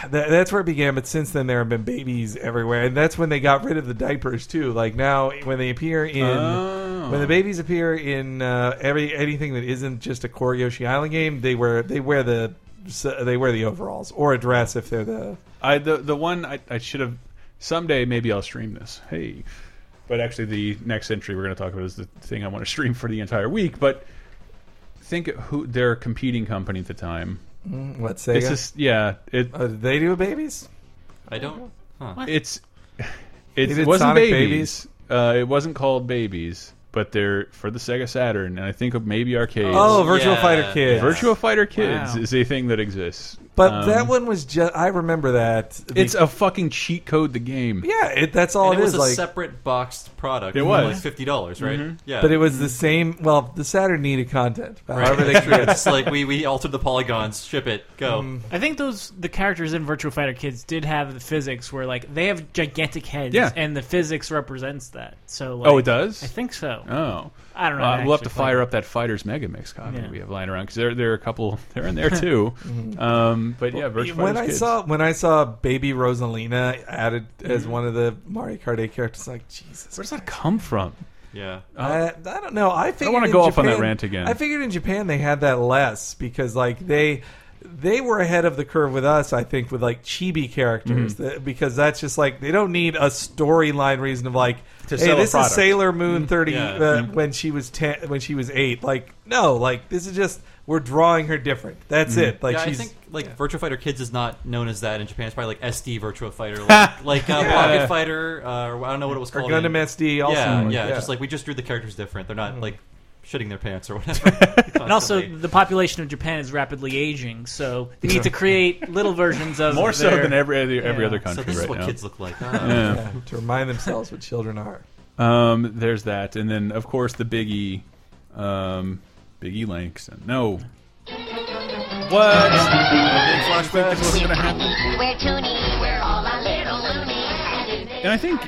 That, that's where it began, but since then there have been babies everywhere, and that's when they got rid of the diapers too. Like now, when they appear in,
Oh.
when the babies appear in uh, every anything that isn't just a core Yoshi Island game, they wear they wear the they wear the overalls or a dress if they're the
I the the one I, I should have someday maybe I'll stream this. Hey, but actually the next entry we're going to talk about is the thing I want to stream for the entire week. But think who their competing company at the time.
Mm, what,
This
Sega?
is yeah. It
uh, did they do babies.
I don't. Huh.
it's
They
it's,
did
it wasn't
Sonic
babies. Uh, it wasn't called babies, but they're for the Sega Saturn, and I think of maybe arcades.
Oh, Virtual Yeah. Fighter Kids.
Virtual Fighter Kids
Wow.
is a thing that exists.
But
Um,
that one was just I remember that
it's a fucking cheat code. The game.
Yeah, it, that's all
and
Oh,
it
it
was
is.
a
like,
separate boxed product.
It
for,
was.
like fifty dollars, right?
Mhm.
Yeah,
but it was the same. Well, the Saturn needed content. However,
Right.
they created.
It's like we we altered the polygons. Ship it. Go.
Mm-hmm.
I think those the characters in Virtual Fighter Kids did have the physics where like they have gigantic heads,
Yeah.
and the physics represents that. So like,
Oh, it does.
I think so.
Oh,
I don't know.
Uh,
I
we'll have
actually
to
played
fire
it.
up that Fighters Mega Mix copy
Yeah.
we have lying around because there there are a couple they're in there too. um, but yeah, Virtual
when
Fighters
I
Kids.
saw when I saw Baby Rosalina added as one of the Mario Kart 8 characters, like Jesus,
where does that come from?
Yeah.
I, Uh, I don't know. I figured
wanna
in
go off on that
Japan-
rant again.
I figured in Japan they had that less because like they they were ahead of the curve with us. I think with like chibi characters
Mhm.
that- because that's just like they don't need a storyline reason of like
To
hey
sell a
this is
product.
Sailor Moon thirty
Yeah.
uh,
Mhm.
when she was ten when she was eight. Like no, like this is just we're drawing her different. That's it. Like
yeah,
she's
I think like Virtual Fighter Kids is not known as that in Japan. It's probably like SD Virtual Fighter, like, like uh,
Yeah.
Pocket Fighter, uh, or I don't know what it was
Or
called.
Gundam
in-
SD also.
Yeah,
Mm.
yeah,
Yeah.
Just like we just drew the characters different. They're not
Mm.
like shitting their pants or whatever.
And also, the population of Japan is rapidly aging, so they need to create little versions of
More so
their-
than every other, every
Yeah.
other country
this is
right
what
now.
kids look like, huh?
Yeah.
yeah, to remind themselves what children are.
Um, there's that, and then of course the Biggie, um, Biggie Langston. No, What? Flashback is what's gonna happen.
We're toony, we're all a little loony. And
And I think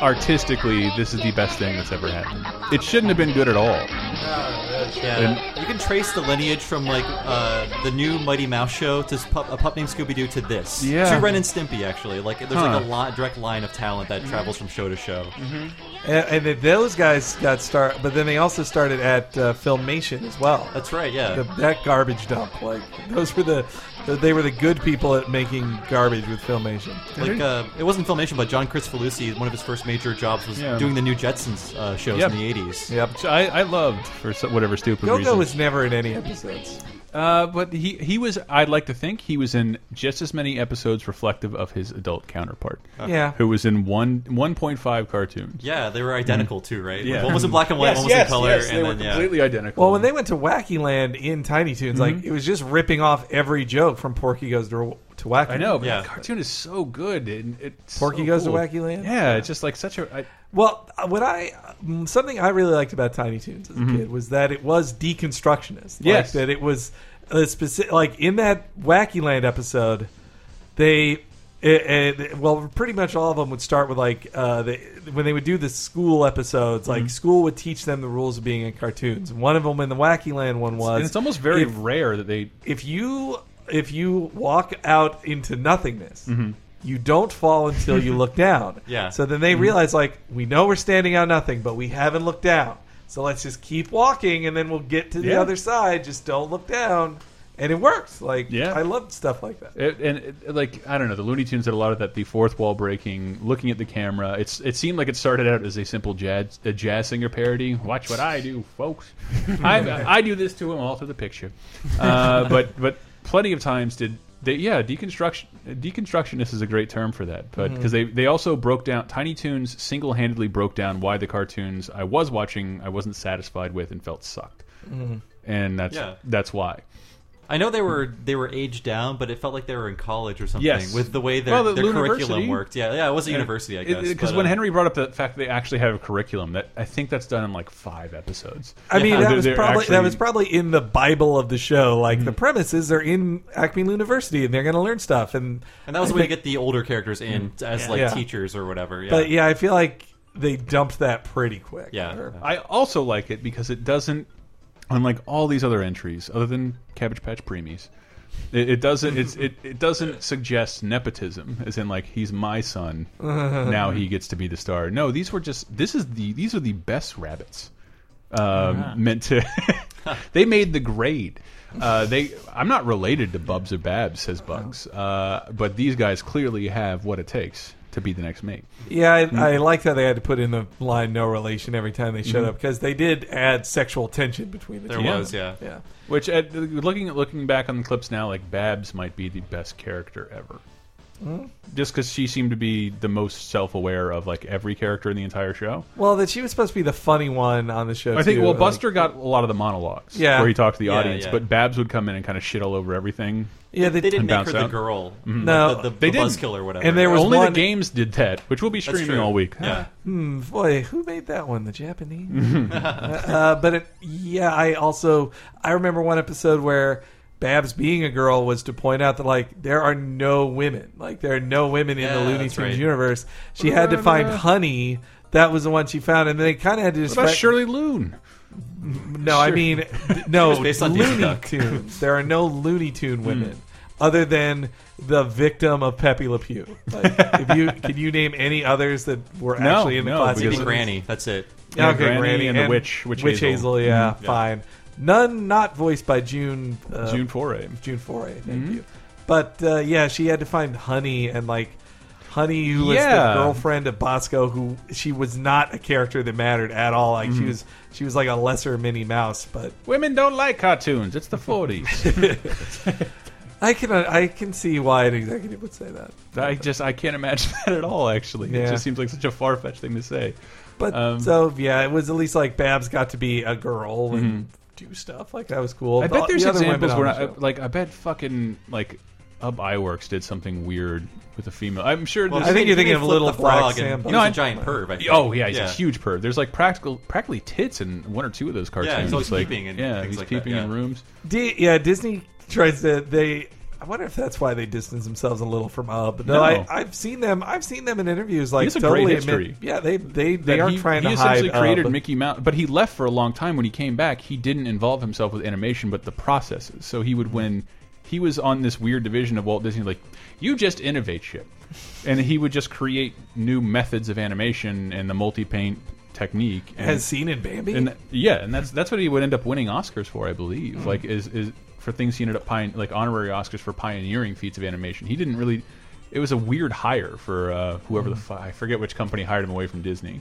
artistically, this is the best thing that's ever happened. It shouldn't have been good at all.
Yeah, you can trace the lineage from like uh, the new Mighty Mouse show to pup, a pup named Scooby Doo to this.
Yeah.
to Ren and Stimpy actually. Like there's like
Huh.
a lot, direct line of talent
Mm-hmm.
that travels from show to show.
And, and then those guys got start, but then they also started at uh, Filmation as well.
That's right, yeah.
The, that garbage dump, like those were the, they were the good people at making garbage with Filmation.
Like uh, it wasn't filmation, but John Chris Felucci, one of his first major jobs was
Yeah.
doing the new Jetsons uh, shows
Yep.
in the '80s.
Yep.
Which I, I loved for so- whatever stupid
Go-Go
reason.
was never in any episodes.
Uh, but he he was. I'd like to think he was in just as many episodes reflective of his adult counterpart.
Yeah.
Uh, who was in one one point five cartoons.
Yeah, they were identical too, right?
Mm-hmm. Yeah.
Like, one was in black and white,
Yes,
one was
yes,
in color,
yes, they
and
were
then yeah.
completely identical.
Well, when they went to Wacky Land in Tiny Toons, like it was just ripping off every joke from Porky Goes to, to Wacky.
I know, but
Land.
the cartoon is so good. And it's
Porky
so
Goes
cool.
to Wacky Land.
Yeah, it's just like such a. I,
Well, uh, what I um, something I really liked about Tiny Toons as a
Mhm.
kid was that it was deconstructionist. Like,
Yes.
that it was a specific. Like in that Wacky Land episode, they. It, it- well, pretty much all of them would start with like uh, the, when they would do the school episodes.
Mm-hmm.
Like school would teach them the rules of being in cartoons. And One of them in the Wacky Land one was.
and it's almost very
if-
rare that they.
if you if you walk out into nothingness,
Mhm.
you don't fall until you look down.
Yeah.
So then they
Mhm.
realize like we know we're standing on nothing, but we haven't looked down. So let's just keep walking, and then we'll get to the
Yeah.
other side. Just don't look down, and it works. Like
Yeah.
I love stuff like that.
It, and it, like I don't know, the Looney Tunes did a lot of that. The fourth wall breaking, looking at the camera. It's it seemed like it started out as a simple jazz a jazz singer parody. Watch what I do, folks. I I do this to him all through the picture. Uh, but but plenty of times did they yeah deconstruction deconstructionist is a great term for that. But
Mhm.
because they they also broke down Tiny Tunes single handedly broke down why the cartoons I was watching I wasn't satisfied with and felt sucked.
Mhm.
And that's
Yeah.
that's why.
I know they were they were aged down, but it felt like they were in college or something.
Yes.
with the way their,
Well, the
their curriculum
university-
worked. Yeah, yeah, it was a
Yeah.
university, I
It-
guess.
it- Because
but,
when
uh,
Henry brought up the fact that they actually have a curriculum, that I think that's done in like five episodes.
I mean,
Where
that
they're-
was
they're
probably
actually- Mm-hmm.
that was probably in the Bible of the show. Like the premises are in Acme University, and they're going to learn stuff. And
and that was
I
the way to
think-
get the older characters in
Mm-hmm.
as like
Yeah.
teachers or whatever. Yeah.
But yeah, I feel like they dumped that pretty quick. Or-
I also like it because it doesn't, unlike all these other entries, other than Cabbage Patch Preemies, it, it doesn't. It's, it it doesn't suggest nepotism, as in like he's my son, now he gets to be the star. No, these were just. This is the. These are the best rabbits. Um,
Ah.
Meant to. they made the grade. Uh, they. I'm not related to Bubs or Babs, says Bugs. Uh, but these guys clearly have what it takes to be the next mate.
Yeah, I,
Mm.
I liked how they had to put in the line "no relation" every time they showed
Mhm.
up because they did add sexual tension between the two. of them. yeah.
Which, at, looking looking back on the clips now, like Babs might be the best character ever,
Hmm.
just because she seemed to be the most self aware of like every character in the entire show.
Well, that she was supposed to be the funny one on the show.
I think
too, uh,
well,
like-
Buster got a lot of the monologues,
Yeah.
where he talked to the
Yeah,
audience,
yeah.
but Babs would come in and kind of shit all over everything.
Yeah, they- They didn't
and
make
bounce
her the
out.
girl,
Mhm.
No. the- the-
they
the
didn't.
buzzkill or whatever.
And there was
only
one-
the games did that, which we'll be
That's
streaming
true.
all week.
Yeah.
Hmm, boy, who made that one? The Japanese.
Mm-hmm.
uh, uh, but it, yeah, I also I remember one episode where Babs being a girl was to point out that like there are no women, like there are no women in
Yeah,
the Looney
that's
Tunes
right.
universe. She had to find Honey. That was the one she found, and then they kind of had to.
What about
respect-
Shirley Loon?
No, I
Sure.
mean,
It
no.
was based on Daisy
Looney
Duck. Hmm.
Tunes. There are no Looney Tune women other than the victim of Pepe Le Pew. Like, if you can you name any others that were
No,
actually in the
no,
classic?
because-
Looney-
Granny, that's it.
Yeah,
Yeah,
okay, Granny,
Granny
and, the Witch, Witch, Hazel. yeah,
Mhm. Yeah.
fine. None not voiced by June uh,
June Hmm. Foray.
June Foray, thank you. But uh, yeah, she had to find Honey and like Honey, who was
Yeah.
the girlfriend of Bosco, who she was not a character that mattered at all. Like she
Mhm.
was, she was like a lesser Minnie Mouse, but.
Women don't like cartoons. It's the '40s.
I can uh, I can see why an executive would say that.
I just I can't imagine that at all. Actually,
Yeah.
it just seems like such a far fetched thing to say.
But
Um,
so yeah, it was at least like Babs got to be a girl and do stuff like that was cool.
Mm-hmm. I bet
The-
there's
the other women
examples
on uh,
where
the
I,
show-
like I bet fucking like Ub Iwerks did something weird with a female. I'm sure.
Well,
this-
I think you're thinking of Little the Black Frog and Sambo. he was a
I-
giant perv, I think.
Oh yeah, he's
Yeah.
a huge perv. There's like practical, practically tits in one or two of those cartoons.
always
like,
peeping and
yeah,
things
he's
like that,
peeping
yeah.
in rooms.
D- yeah, Disney tries to. They. I wonder if that's why they distance themselves a little from Up. No,
No.
I, I've seen them. I've seen them in interviews. Like
he has a
totally
great
admit-
history.
yeah, they they they
That
are
he,
trying
he
to hide. uh,
essentially created
Ub.
Mickey Mouse, but he left for a long time. When he came back, he didn't involve himself with animation, but the processes. So he would win. He was on this weird division of Walt Disney, like you just innovate shit, and he would just create new methods of animation and the multi paint technique. And,
As seen in Bambi?
And th- yeah, and that's that's what he would end up winning Oscars for, I believe.
Hmm.
Like is is for things he ended up pion- like honorary Oscars for pioneering feats of animation. He didn't really. It was a weird hire for uh, whoever the
Hmm.
f- I forget which company hired him away from Disney.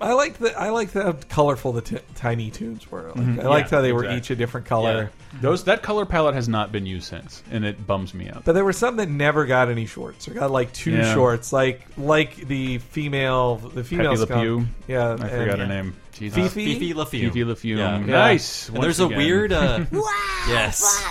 I liked the I liked the- how colorful the t- Tiny Toons were. Like,
Mhm.
I liked
Yeah,
how they were
exactly.
each a different color.
Yeah. Those that color palette has not been used since, and it bums me out.
But there were some that never got any shorts or got like two
Yeah.
shorts, like like the female the female
Pepe Le
skunk.
Pew.
Yeah,
I
and-
forgot her name. Jesus.
Fifi,
Fifi LaFew.
Fifi LaFew.
Yeah.
Nice.
And
Once
there's a
again.
weird. Uh, yes.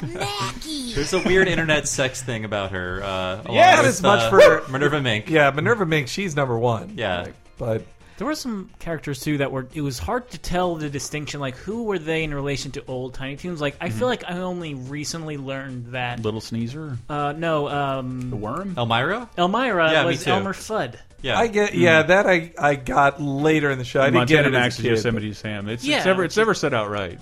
There's a weird internet sex thing about her. Uh, along
Yeah, not
with,
as much
uh,
for
Minerva Mink.
Yeah, Minerva Mink. She's number one.
Yeah.
But
There were some characters too that were. It was hard to tell the distinction. Like, who were they in relation to old Tiny Toons? Like, I
Mhm.
feel like I only recently learned that.
Little sneezer.
Uh, no. Um, the
worm.
Elmira.
Elmira
Yeah, me
was
too.
Elmer Fudd.
I get yeah that I I got later in the show. I didn't
Mm. Montana
get it
Max
as a
is
kid,
Yosemite Sam. It's,
Yeah.
it's never it's never set out right.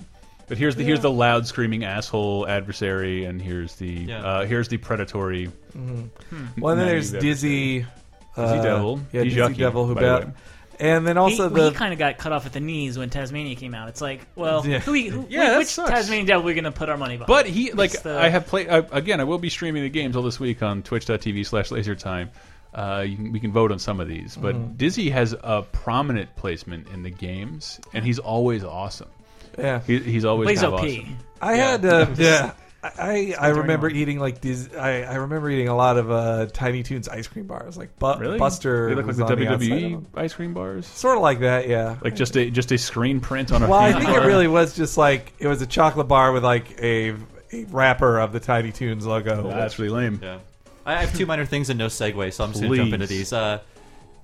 But here's the here's the loud screaming asshole adversary, and here's the uh, here's the predatory.
Mhm. Well, then there's
Dizzy.
Dizzy. uh,
Devil.
Yeah, Dizzy
Dijaki,
Devil. Who
by the
bet?
way.
And then also
he,
the
he kind of got cut off at the knees when Tasmania came out. It's like, well,
Yeah.
who, we- who,
Yeah, that
which
sucks.
Tasmanian devil are we going to put our money behind?
But he like
It's the-
I have played I, again. I will be streaming the games all this week on Twitch.tv/slash LaserTime. Uh, you can, we can vote on some of these, but
Mhm.
Dizzy has a prominent placement in the games, and he's always awesome.
Yeah,
he, he's always
Blaze
kind of
OP.
awesome.
I
Yeah.
had uh,
Yeah.
yeah. I, I
What's
remember
going
eating like these. I, I remember eating a lot of uh, Tiny Toons ice cream bars, like Bu-
Really?
Buster.
They look like
was
the E
on outside of
WWE
them.
ice cream bars,
sort of like that. Yeah,
like just a just a screen print on a.
well, I think it
bar.
really was just like it was a chocolate bar with like a, a wrapper of the Tiny Toons logo.
That's really lame.
Yeah. I have two minor things and no segue, so I'm just going to
Please.
jump into these. Uh,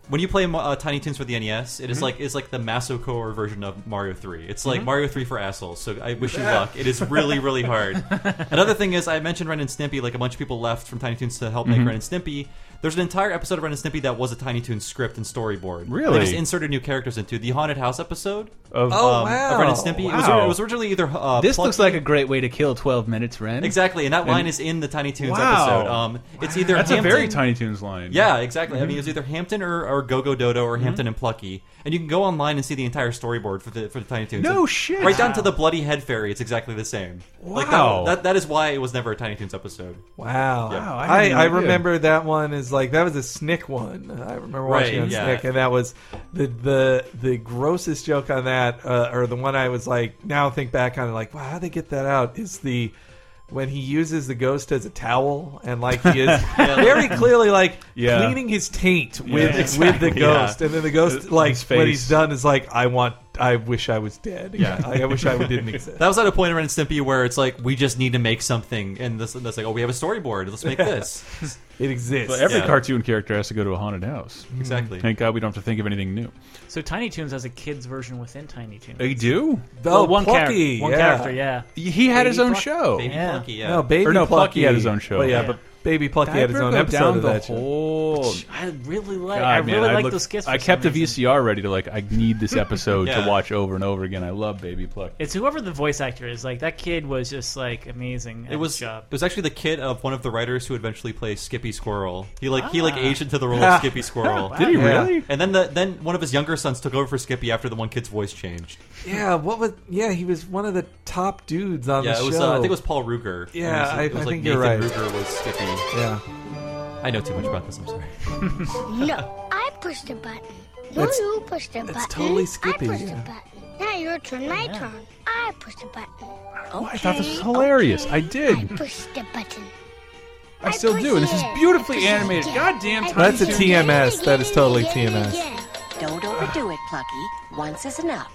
when you play Mo- uh, Tiny Toons for the NES, it is
Mhm.
like it's like the Masocor version of Mario 3. It's like
Mhm.
Mario 3 for assholes. So I wish you
Yeah.
luck. It is really really hard. Another thing is I mentioned Ren and Snippy. Like a bunch of people left from Tiny Toons to help make
Mhm.
Mm-hmm.
Ren and Snippy. There's an entire episode of Ren and Snippy that was a Tiny Toons script and storyboard.
Really?
They just inserted new characters into the haunted house episode
Of-
um,
Oh,
of Ren
wow.
and Snippy. It, was,
Wow.
it was originally either uh,
this looks
Plucky-
like a great way to kill twelve minutes, Ren.
Exactly, and that line is in the Tiny Toons episode. Um, it's either
that's
Hampton-
a very Tiny Toons line.
Yeah, exactly. I
Mhm.
mean, it was either Hampton or, or Go-Go Dodo or Hampton and Plucky, and you can go online and see the entire storyboard for the for the Tiny Toons.
No
And
shit.
Right down to the bloody head fairy, it's exactly the same. Like
Wow.
that, that, that is why it was never a Tiny Toons episode.
Wow.
Yeah.
I, I, remember that one is like that was a Snick one. I remember watching
Right,
on
yeah.
Snick, and that was the the the grossest joke on that, uh, or the one I was like now think back on it, like wow, how they get that out is the. When he uses the ghost as a towel, and like he is
Yeah.
very clearly like
Yeah.
cleaning his taint with
Yeah,
with the
exactly,
ghost,
yeah.
and then the ghost
His
like what he's
face.
done is like I want, I wish I was dead. I, I wish I didn't exist.
That was at a point in Ren and Stimpy where it's like we just need to make something, and this that's like oh we have a storyboard, let's make
Yeah.
this.
It exists.
But every
Yeah.
cartoon character has to go to a haunted house.
Exactly.
Thank God we don't have to think of anything new.
So Tiny Toons has a kids version within Tiny Toons.
They do.
Oh,
Well, one character. One character. Yeah.
He had his own
Pluck-
show.
yeah.
No, baby
or no, Plucky
Plucky
had his own show.
Well, yeah, but baby Plucky had his
Diaper
own
go
episode
down
of
the
that show.
whole-
I really like.
God,
I
man,
really like
looked-
those skits. For
I
some
kept the
reason.
VCR ready to like. I need this episode
Yeah.
to watch over and over again. I love Baby Pluck.
It's whoever the voice actor is. Like that kid was just like amazing. at
It was
his job.
it was actually the kid of one of the writers who eventually plays Skippy Squirrel. He like he like
Ah.
aged into the role of Skippy Squirrel.
Did he
Yeah.
really?
And then the then one of his younger sons took over for Skippy after the one kid's voice changed.
Yeah, what was? Yeah, he was one of the top dudes on
yeah,
the
it was
show.
uh, I think it was Paul Ruger.
Yeah,
it was,
I,
it was
I
like
think
Nathan
you're right.
Ruger was Skippy.
Yeah.
I know too much about this. I'm sorry.
No, I pushed a button. No,
That's-
you pushed a button.
totally Skippy,
I pushed
yeah.
a button. Now your turn, my turn. I pushed a button. Okay,
I thought this was hilarious. I
I
did.
pushed a button.
I still do, and this is beautifully animated. God damn.
That's a TMS. That is totally TMS.
Don't overdo it, Plucky. Once is enough.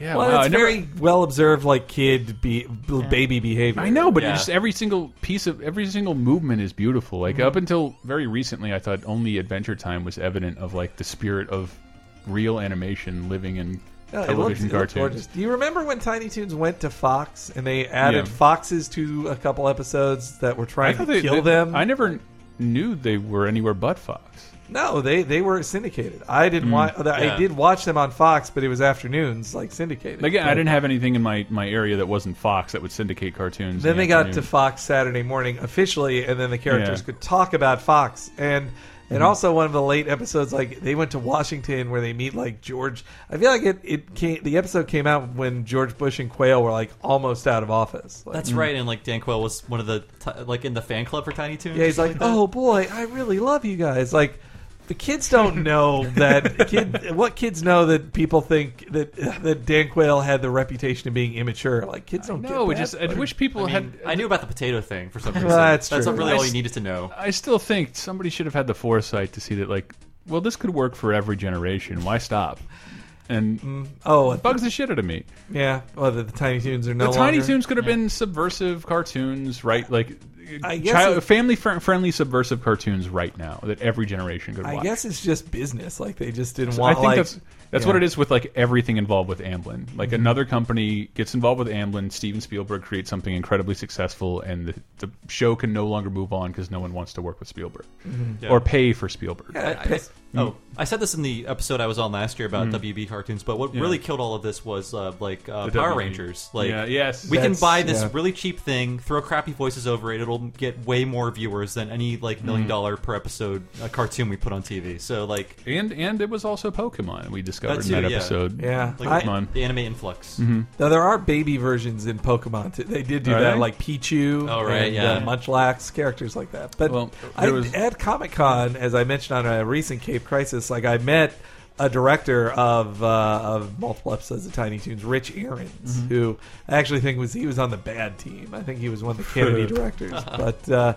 Yeah,
well,
wow,
it's
I never-
very well observed, like kid be, b- baby behavior.
I know, but
Yeah.
just every single piece of every single movement is beautiful. Like
Mhm.
up until very recently, I thought only Adventure Time was evident of like the spirit of real animation living in
Yeah, it looked-
television
it looked gorgeous.
cartoons.
Do you remember when Tiny Toons went to Fox and they added
Yeah.
foxes to a couple episodes that were
I
trying to
thought they-
kill
they-
them?
I never knew they were anywhere but Fox.
No, they they were syndicated. I didn't
Mm.
watch.
Yeah.
I did watch them on Fox, but it was afternoons, like syndicated.
Again, I
But
didn't have anything in my my area that wasn't Fox that would syndicate cartoons.
Then
in the
they got to
afternoon.
Fox Saturday morning officially, and then the characters
Yeah.
could talk about Fox and. And
Mhm.
also one of the late episodes, like they went to Washington where they meet like George. I feel like it, it came, the episode came out when George Bush and Quayle were like almost out of office. Like,
That's right, and like Dan Quayle was one of the ti- like in the fan club for Tiny Toons.
Yeah, he's like, oh boy, I really love you guys. Like, the kids don't know that kid. What kids know that people think that that Dan Quayle had the reputation of being immature. Like kids don't.
No,
get
it just
that.
I wish people
I mean,
had.
I knew about the potato thing for some
Well,
reason.
oh, that's true.
really all
I
you
s-
needed to know.
I still think somebody should have had the foresight to see that, like, well, this could work for every generation. Why stop? And
oh,
it bugs the shit out of me.
Yeah, well, the, the Tiny Toons are no
the Tiny
longer-
Toons could have been subversive cartoons, right? Like,
I guess
child,
it-
family fr friendly subversive cartoons right now that every generation could
I
watch.
guess it's just business. Like they just didn't
So
want.
I think
like,
that's that's what it is with like everything involved with Amblin. Like
Mhm.
another company gets involved with Amblin, Steven Spielberg creates something incredibly successful, and the, the show can no longer move on because no one wants to work with Spielberg
Mhm.
Mm-hmm.
Yeah.
or pay for Spielberg.
I- I guess- oh, I said this in the episode I was on last year about
Mm.
WB cartoons, but what
Yeah.
really killed all of this was uh, like uh,
The
Power
WB.
Rangers. Like,
Yeah, yes.
we can
That's-
buy this
yeah.
really cheap thing, throw crappy voices over it. It'll get way more viewers than any like million
Mm.
dollar per episode uh, cartoon we put on TV. So like,
and and it was also Pokemon we discovered
That
in
too,
that
yeah.
episode.
Yeah.
Like,
Pokemon.
the anime influx.
Mhm.
Now there are baby versions in Pokemon. too. They did do
Are
that,
they?
like Pichu,
Oh, right,
and,
yeah.
uh, Munchlax, characters like that. But
Well,
I,
there was-
at Comic Con, as I mentioned on a recent Cape Crisis, like I met a director of uh, of multiple episodes of Tiny Toons, Rich Ahrens,
Mm-hmm.
Mhm.
who I actually think was he was on the bad team. I think he was one of the Kennedy directors, but. Uh,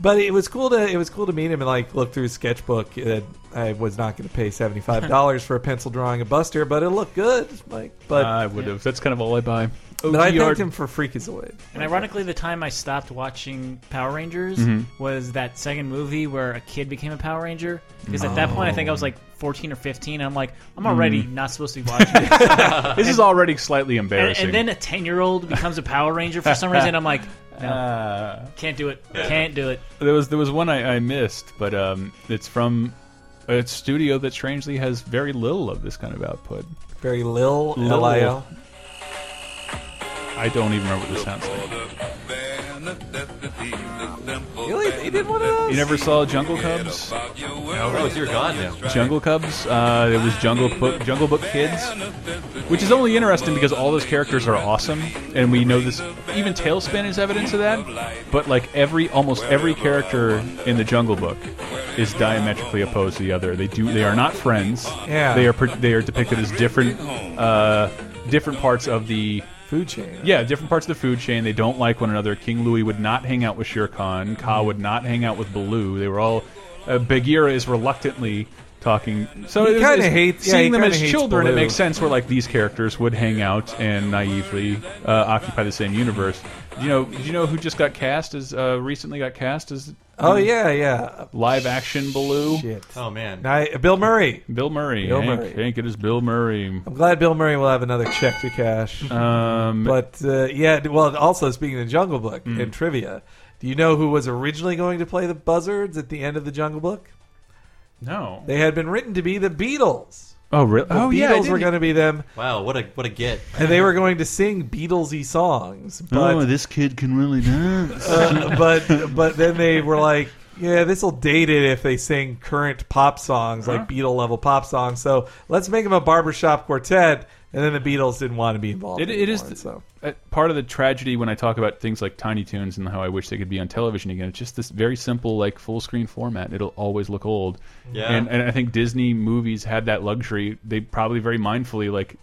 but it was cool to it was cool to meet him and like look through his sketchbook. Uh, I was not going to pay seventy five dollars for a pencil drawing of Buster, but it looked good. Like, but
Uh,
I would have. That's kind of all I buy.
but I
OGR
thanked him for Freakazoid.
And ironically, the time I stopped watching Power Rangers
Mhm.
was that second movie where a kid became a Power Ranger. Because at that point, I think I was like 14 or 15. And I'm like, I'm already
Mm.
not supposed to be watching this.
this is already slightly
And,
embarrassing.
and then a 10 year old becomes a Power Ranger for some reason. I'm like, no, can't do it. Can't do it.
There was there was one I, I missed, but um, it's from a studio that strangely has very little of this kind of output.
Very lil, L-I-L.
I don't even remember what this sounds like.
Really, they did one of those.
You never saw Jungle Cubs?
Oh, it's your god now.
Jungle Cubs. Uh, it was Jungle Book, Jungle Book Kids, which is only interesting because all those characters are awesome, and we know this. Even Tailspin is evidence of that. But like every, almost every character in the Jungle Book is diametrically opposed to the other. They do, they are not friends.
Yeah.
They are per- they are depicted as different, uh, different parts of the.
Food chain.
Yeah, different parts of the food chain. They don't like one another. King Louis would not hang out with Shere Khan.
Mm-hmm.
Ka would not hang out with Baloo. They were all. Uh, Bagheera is reluctly talking. So
He
it was-
kinda
it's-
hates- yeah,
seeing
he
them
kinda
as
hates
children. It
Baloo.
makes sense where like these characters would hang out and naively uh, occupy the same universe. You know, did you know who just got cast as uh, recently got cast as?
Oh, yeah, yeah.
Live action Baloo.
Oh man.
I, Bill Murray.
Bill Murray.
Bill
Hank-
Murray.
Hank, it is Bill Murray.
I'm glad Bill Murray will have another check to cash.
Um,
but uh, yeah, well, also speaking of Jungle Book
Mm.
and trivia, do you know who was originally going to play the buzzards at the end of the Jungle Book?
No.
They had been written to be the Beatles.
Oh really?
The
oh
Beatles
yeah. I
were
didn't-
going to be them,
Wow, what a what a get.
and they were going to sing Beatlesy songs.
Oh,
But
this kid can really dance.
Uh, but but then they were like, yeah, this will date it if they sing current pop songs like Beatle level pop songs. So let's make them a barbershop quartet. And then the Beatles didn't want to be involved.
It, it is
anymore,
the-
so.
uh, part of the tragedy when I talk about things like Tiny Toons and how I wish they could be on television again. It's just this very simple, like full screen format. It'll always look old.
Yeah.
And, and I think Disney movies had that luxury. They probably very mindfully like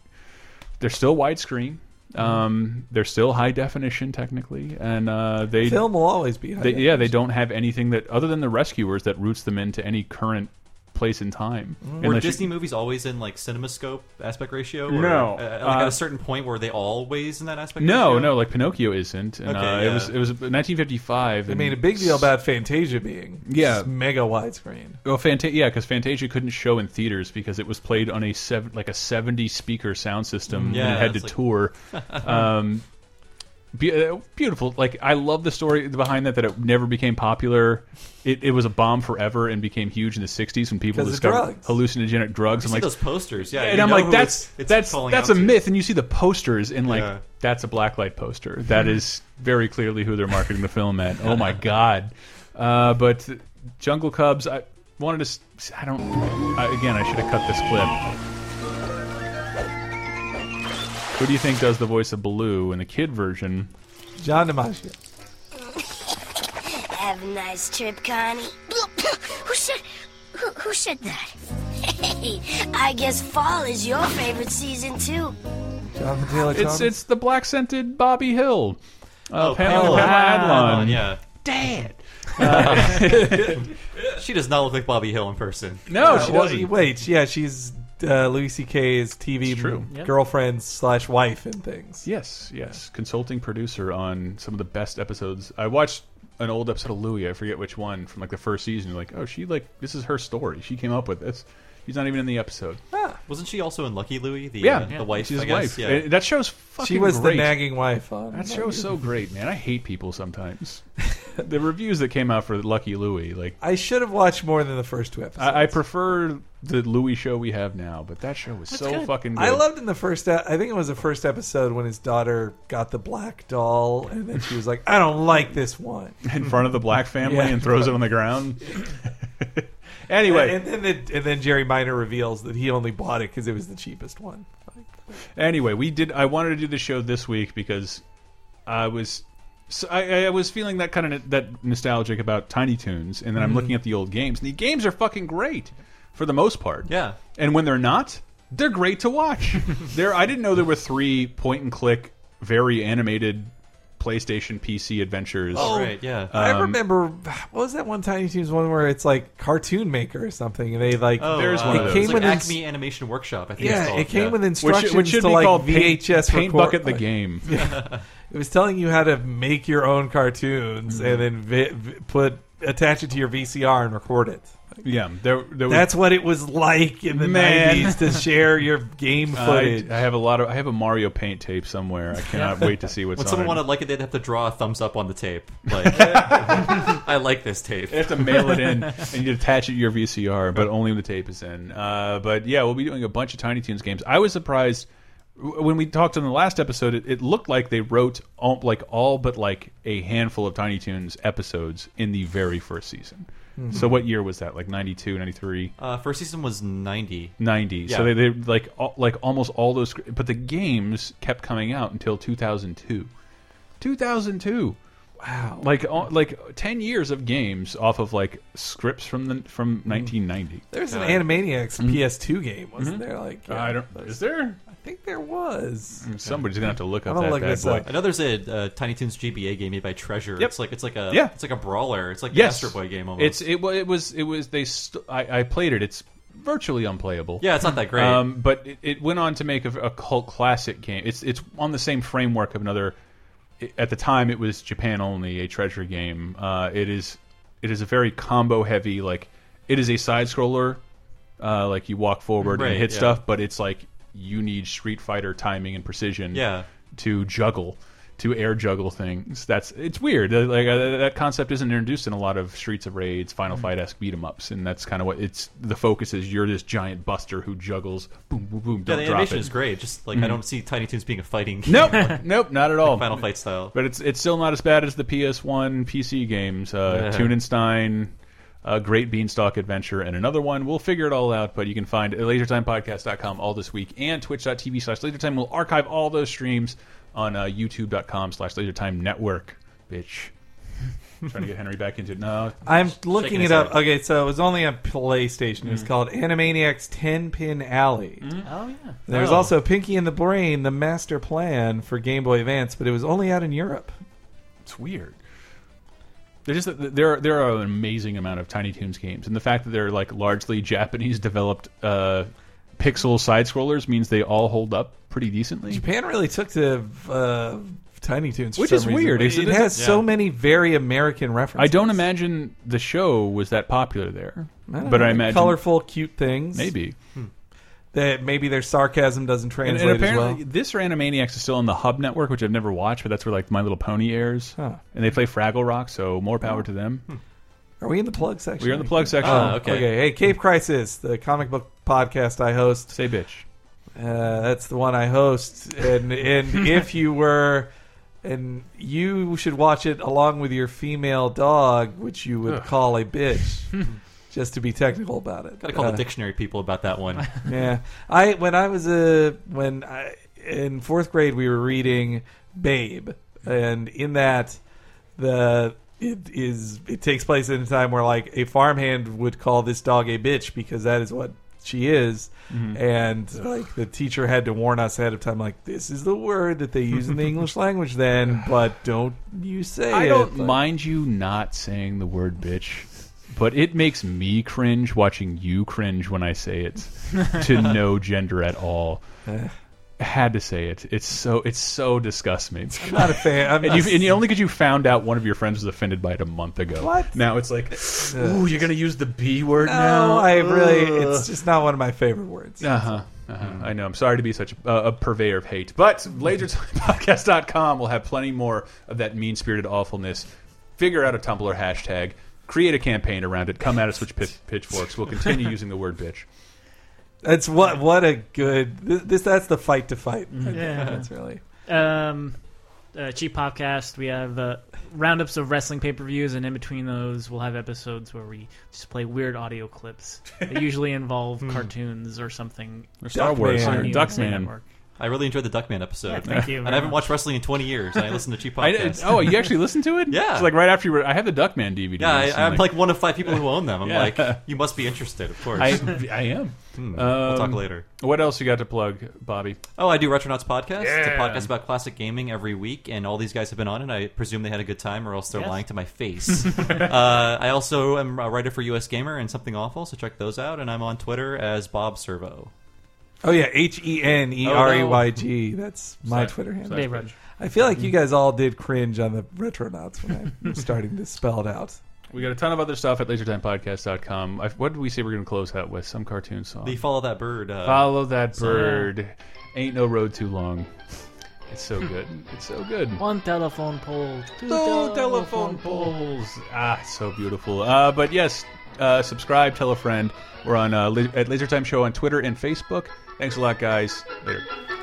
they're still widescreen.
Mm-hmm.
Um, they're still high definition technically, and uh, they
Film will always be high
They, yeah, they don't have anything that other than the Rescuers that roots them into any current place in time.
Mm-hmm.
Were
Unless you-
Disney movies always in like CinemaScope aspect ratio? Or,
No,
uh, like
uh,
at a certain point were they always in that aspect?
no,
ratio?
no, like Pinocchio isn't. And,
Okay,
uh, It
yeah.
was it was 1955.
They
and
made a big deal about Fantasia being
Yeah.
s- mega widescreen.
Well, Fanta- yeah, because Fantasia couldn't show in theaters because it was played on a seven, like a seventy speaker sound system,
Mm, Yeah,
and it had to
that's
tour.
like-
um, be- uh, beautiful. Like I love the story behind that. That it never became popular. It, it was a bomb forever and became huge in the '60s when people
'Cause of
discovered
drugs.
hallucinogenic drugs.
You
I'm
see
like
those posters, yeah,
and
you
I'm
know
like
who
that's
it's- it's
that's
calling
that's a
out to.
myth. And you see the posters and like
Yeah. Hmm.
that's a blacklight poster. That is very clearly who they're marketing the film at. Oh my god! Uh, but Jungle Cubs, I wanted to. s- I don't. I, again, I should have cut this clip. Who do you think does the voice of Baloo in the kid version?
John DiMaggio.
Have a nice trip, Connie. who said who, who said that? Hey, I guess fall is your favorite season too.
John Taylor
It's
Thomas?
it's the black scented Bobby Hill. Uh, Pamela,
Oh, Pamela
Pamela Adlon.
Adlon, yeah.
Dad.
she does not look like Bobby Hill in person.
Uh, well, Wait, yeah, she's uh, Louis C.K.'s TV
true.
m- girlfriend slash wife and things.
Yes, yes. Consulting producer on some of the best episodes. I watched an old episode of Louie, I forget which one, from like the first season. Like, oh, she like this is her story. She came up with this. She's not even in the episode.
Wasn't she also in Lucky Louie? The,
yeah,
uh, the wife.
She's
I
his wife.
guess? Yeah.
Uh, That show's fucking.
was the
great.
nagging wife on
that
Lucky
show's so
Louie.
great, man. I hate people sometimes. the reviews that came out for Lucky Louie, like
I should have watched more than the first two episodes.
I, I prefer the Louie show we have now, but that show was so fucking. good.
I loved in the first. e- I think it was the first episode when his daughter got the black doll, and then she was like, "I don't like this one."
in front of the black family
Yeah.
and throws it on the ground. anyway,
and, and then the, and then Jerry Minor reveals that he only bought it because it was the cheapest one.
anyway, we did. I wanted to do the show this week because I was, so I, I was feeling that kind of that nostalgic about Tiny Toons, and then
Mm-hmm.
I'm
Mhm.
looking at the old games, and the games are fucking great for the most part.
Yeah.
and when they're not, they're great to watch. there, I didn't know there were three point and click, very animated PlayStation PC adventures.
I
Um,
remember. What was that one Tiny Toons one where it's like Cartoon Maker or something, and they like
Oh,
it
uh,
came
it's like
with ins-
Acme Animation Workshop. I think
Yeah,
it's called.
it came
yeah.
with instructions
which should
to
be
like
called Paint-
VHS
Paint
record-
Bucket the game.
Yeah. it was telling you how to make your own
Mm-hmm.
cartoons and then vi- vi- put attach it to your VCR and record it.
Yeah, there, there was-
that's what it was like in the
Man.
nineties to share your game
I-
footage.
I, have a lot of. I have a Mario Paint tape somewhere. I cannot wait to see what's
when
on
someone
it.
wanted like it, they'd have to draw a thumbs up on the tape. Like, I like this tape.
You have to mail it in and you attach it to your VCR, but only when the tape is in. Uh, but yeah, we'll be doing a bunch of Tiny Toons games. I was surprised w- when we talked on the last episode. It, it looked like they wrote all, like all but like a handful of Tiny Toons episodes in the very first season.
Mhm.
So what year was that? Like 92, 93?
Uh, first season was ninety.
90. So
Yeah.
they, they like all, like almost all those, sc- but the games kept coming out until 2002. 2002.
Wow.
Like all, like 10 years of games off of like scripts from the from 1990.
There's an Animaniacs PS2 game, wasn't
Mhm.
there? Like,
Mm-hmm. I don't. Mm-hmm. Is there?
I think there was.
Somebody's gonna have to look up
I'm gonna
that
look
bad
this
boy.
up.
I know there's a uh, Tiny Toons GBA game made by Treasure.
Yep.
It's like it's like a
Yeah.
it's like a brawler. It's like
Yes.
an Astro Boy game almost.
It's it, wa- it was it was they st I, I played it. It's virtually unplayable.
Yeah, it's not that great.
Um, but it, it went on to make a, a cult classic game. It's it's on the same framework of another. i- At the time, it was Japan only a treasure game. Uh, it is it is a very combo heavy like it is a side scroller. Uh, like you walk forward
Right,
and hit
yeah.
stuff, but it's like you need Street Fighter timing and precision
Yeah.
to juggle to air juggle things that's it's weird Uh, like uh, that concept isn't introduced in a lot of streets of raids final
Mhm.
fight esque beat 'em ups and that's kind of what it's the focus is you're this giant buster who juggles boom boom boom
yeah,
don't
the
drop
animation
it.
is great. Just like I
Mhm.
don't see Tiny Toons being a fighting. game.
nope nope not at all
Final Fight style.
but it's it's still not as bad as the PS1 PC games uh
Yeah.
Tunenstein uh, Great Beanstalk Adventure and another one. We'll figure it all out, but you can find it at lasertimepodcast.com all this week and twitch.tv slash lasertime. We'll archive all those streams on uh, youtube.com slash lasertime network, bitch. Trying to get Henry back into it. No.
I'm looking it up.
Okay.
Okay, so it was only on PlayStation. It was
Mhm.
called Animaniacs Ten Pin Alley.
Mm-hmm.
Oh yeah.
There was
Oh.
also Pinky and the Brain, the master plan for Game Boy Advance, but it was only out in Europe.
It's weird. They're just there. There are an amazing amount of Tiny Toons games, and the fact that they're like largely Japanese developed uh, pixel side scrollers means they all hold up pretty decently.
Japan really took to uh, Tiny Toons, for
Which
some
is
reason.
weird.
It,
It's- it's-
has so
yeah.
many very American
I
references.
don't imagine the show was that popular there,
Hmm. I don't
but
know,
I imagine
colorful, cute things.
Maybe. Hmm.
that maybe their sarcasm doesn't
And,
translate
and apparently,
as well.
this or Animaniacs is still on the Hub Network, which I've never watched, but that's where like My Little Pony airs, and they play Fraggle Rock, so more
Oh.
power to them.
Are we in the plug section?
We're in the plug section.
Hmm. Oh,
Oh, okay.
Hey, Cave Crisis, the comic book podcast I host.
Say bitch.
Uh, that's the one I host, and and if you were, and you should watch it along with your female dog, which you would
Ugh.
call a bitch, just to be technical about it.
Gotta call
Uh,
the dictionary people about that one.
yeah, I when I was a when I in fourth grade we were reading Babe, and in that the it is it takes place in a time where like a farmhand would call this dog a bitch because that is what she is,
Mm-hmm.
Mhm.
and like the teacher had to warn us ahead of time like this is the word that they use in the English language then, but don't you say
I
it,
don't
like-
mind you not saying the word bitch, but it makes me cringe watching you cringe when I say it to no gender at all. Had to say it. It's so it's so disgusts me. I'm
not a fan. I'm
and, you,
not-
and you only because you found out one of your friends was offended by it a month ago.
What?
Now it's like, ooh, you're gonna use the b word
No,
now.
I really
Ugh.
it's just not one of my favorite words.
Uh huh.
Mm-hmm.
I know. I'm sorry to be such a, a purveyor of hate, but lasertimepodcast.com will have plenty more of that mean spirited awfulness. Figure out a Tumblr hashtag, create a campaign around it, come at us with pit, pitchforks. We'll continue using the word bitch.
That's what what a good this, this that's the fight to fight.
Mm-hmm.
Yeah.
that's really
Um, uh, Cheap Podcast. We have uh, roundups of wrestling pay per views, and in between those, we'll have episodes where we just play weird audio clips. They usually involve
Hmm.
cartoons or something.
or
On the USA Network.
I really enjoyed the Duckman episode.
Yeah, thank you
And
very
I haven't
much.
watched wrestling in 20 years. And I listened to Cheap
I-
Podcast.
oh, you actually listened to it?
Yeah.
It's like right after you were. I have the Duckman DVD.
yeah, I, I'm
recently.
like one of five people who own them. I'm
Yeah.
like, you must be interested, of course.
I, I am.
Hmm, we'll talk
Um,
later.
What else you got to plug, Bobby?
Oh, I do Retronauts podcast. It's a
Yeah.
podcast about classic gaming every week, and all these guys have been on it. I presume they had a good time, or else they're
Yes.
lying to my face. uh, I also am a writer for US Gamer and Something Awful, so check those out. And I'm on Twitter as Bob Servo.
Oh yeah, H E N E R E Y G. That's my
Sorry.
Twitter handle.
Sorry, Dave Rudge.
I feel like you guys all did cringe on the retronauts when I'm starting to spell it out.
We got a ton of other stuff at lasertimepodcast.com. I, what did we say we're going to close out with? Some cartoon song.
The Follow That Bird. Uh,
Follow that
song.
bird. Ain't no road too long. It's so good. It's so good.
One telephone pole. Two,
telephone poles. Ah, it's so beautiful. Uh, but yes, uh, subscribe, tell a friend. We're on uh, la- at Laser Time Show on Twitter and Facebook. Thanks a lot, guys. Later.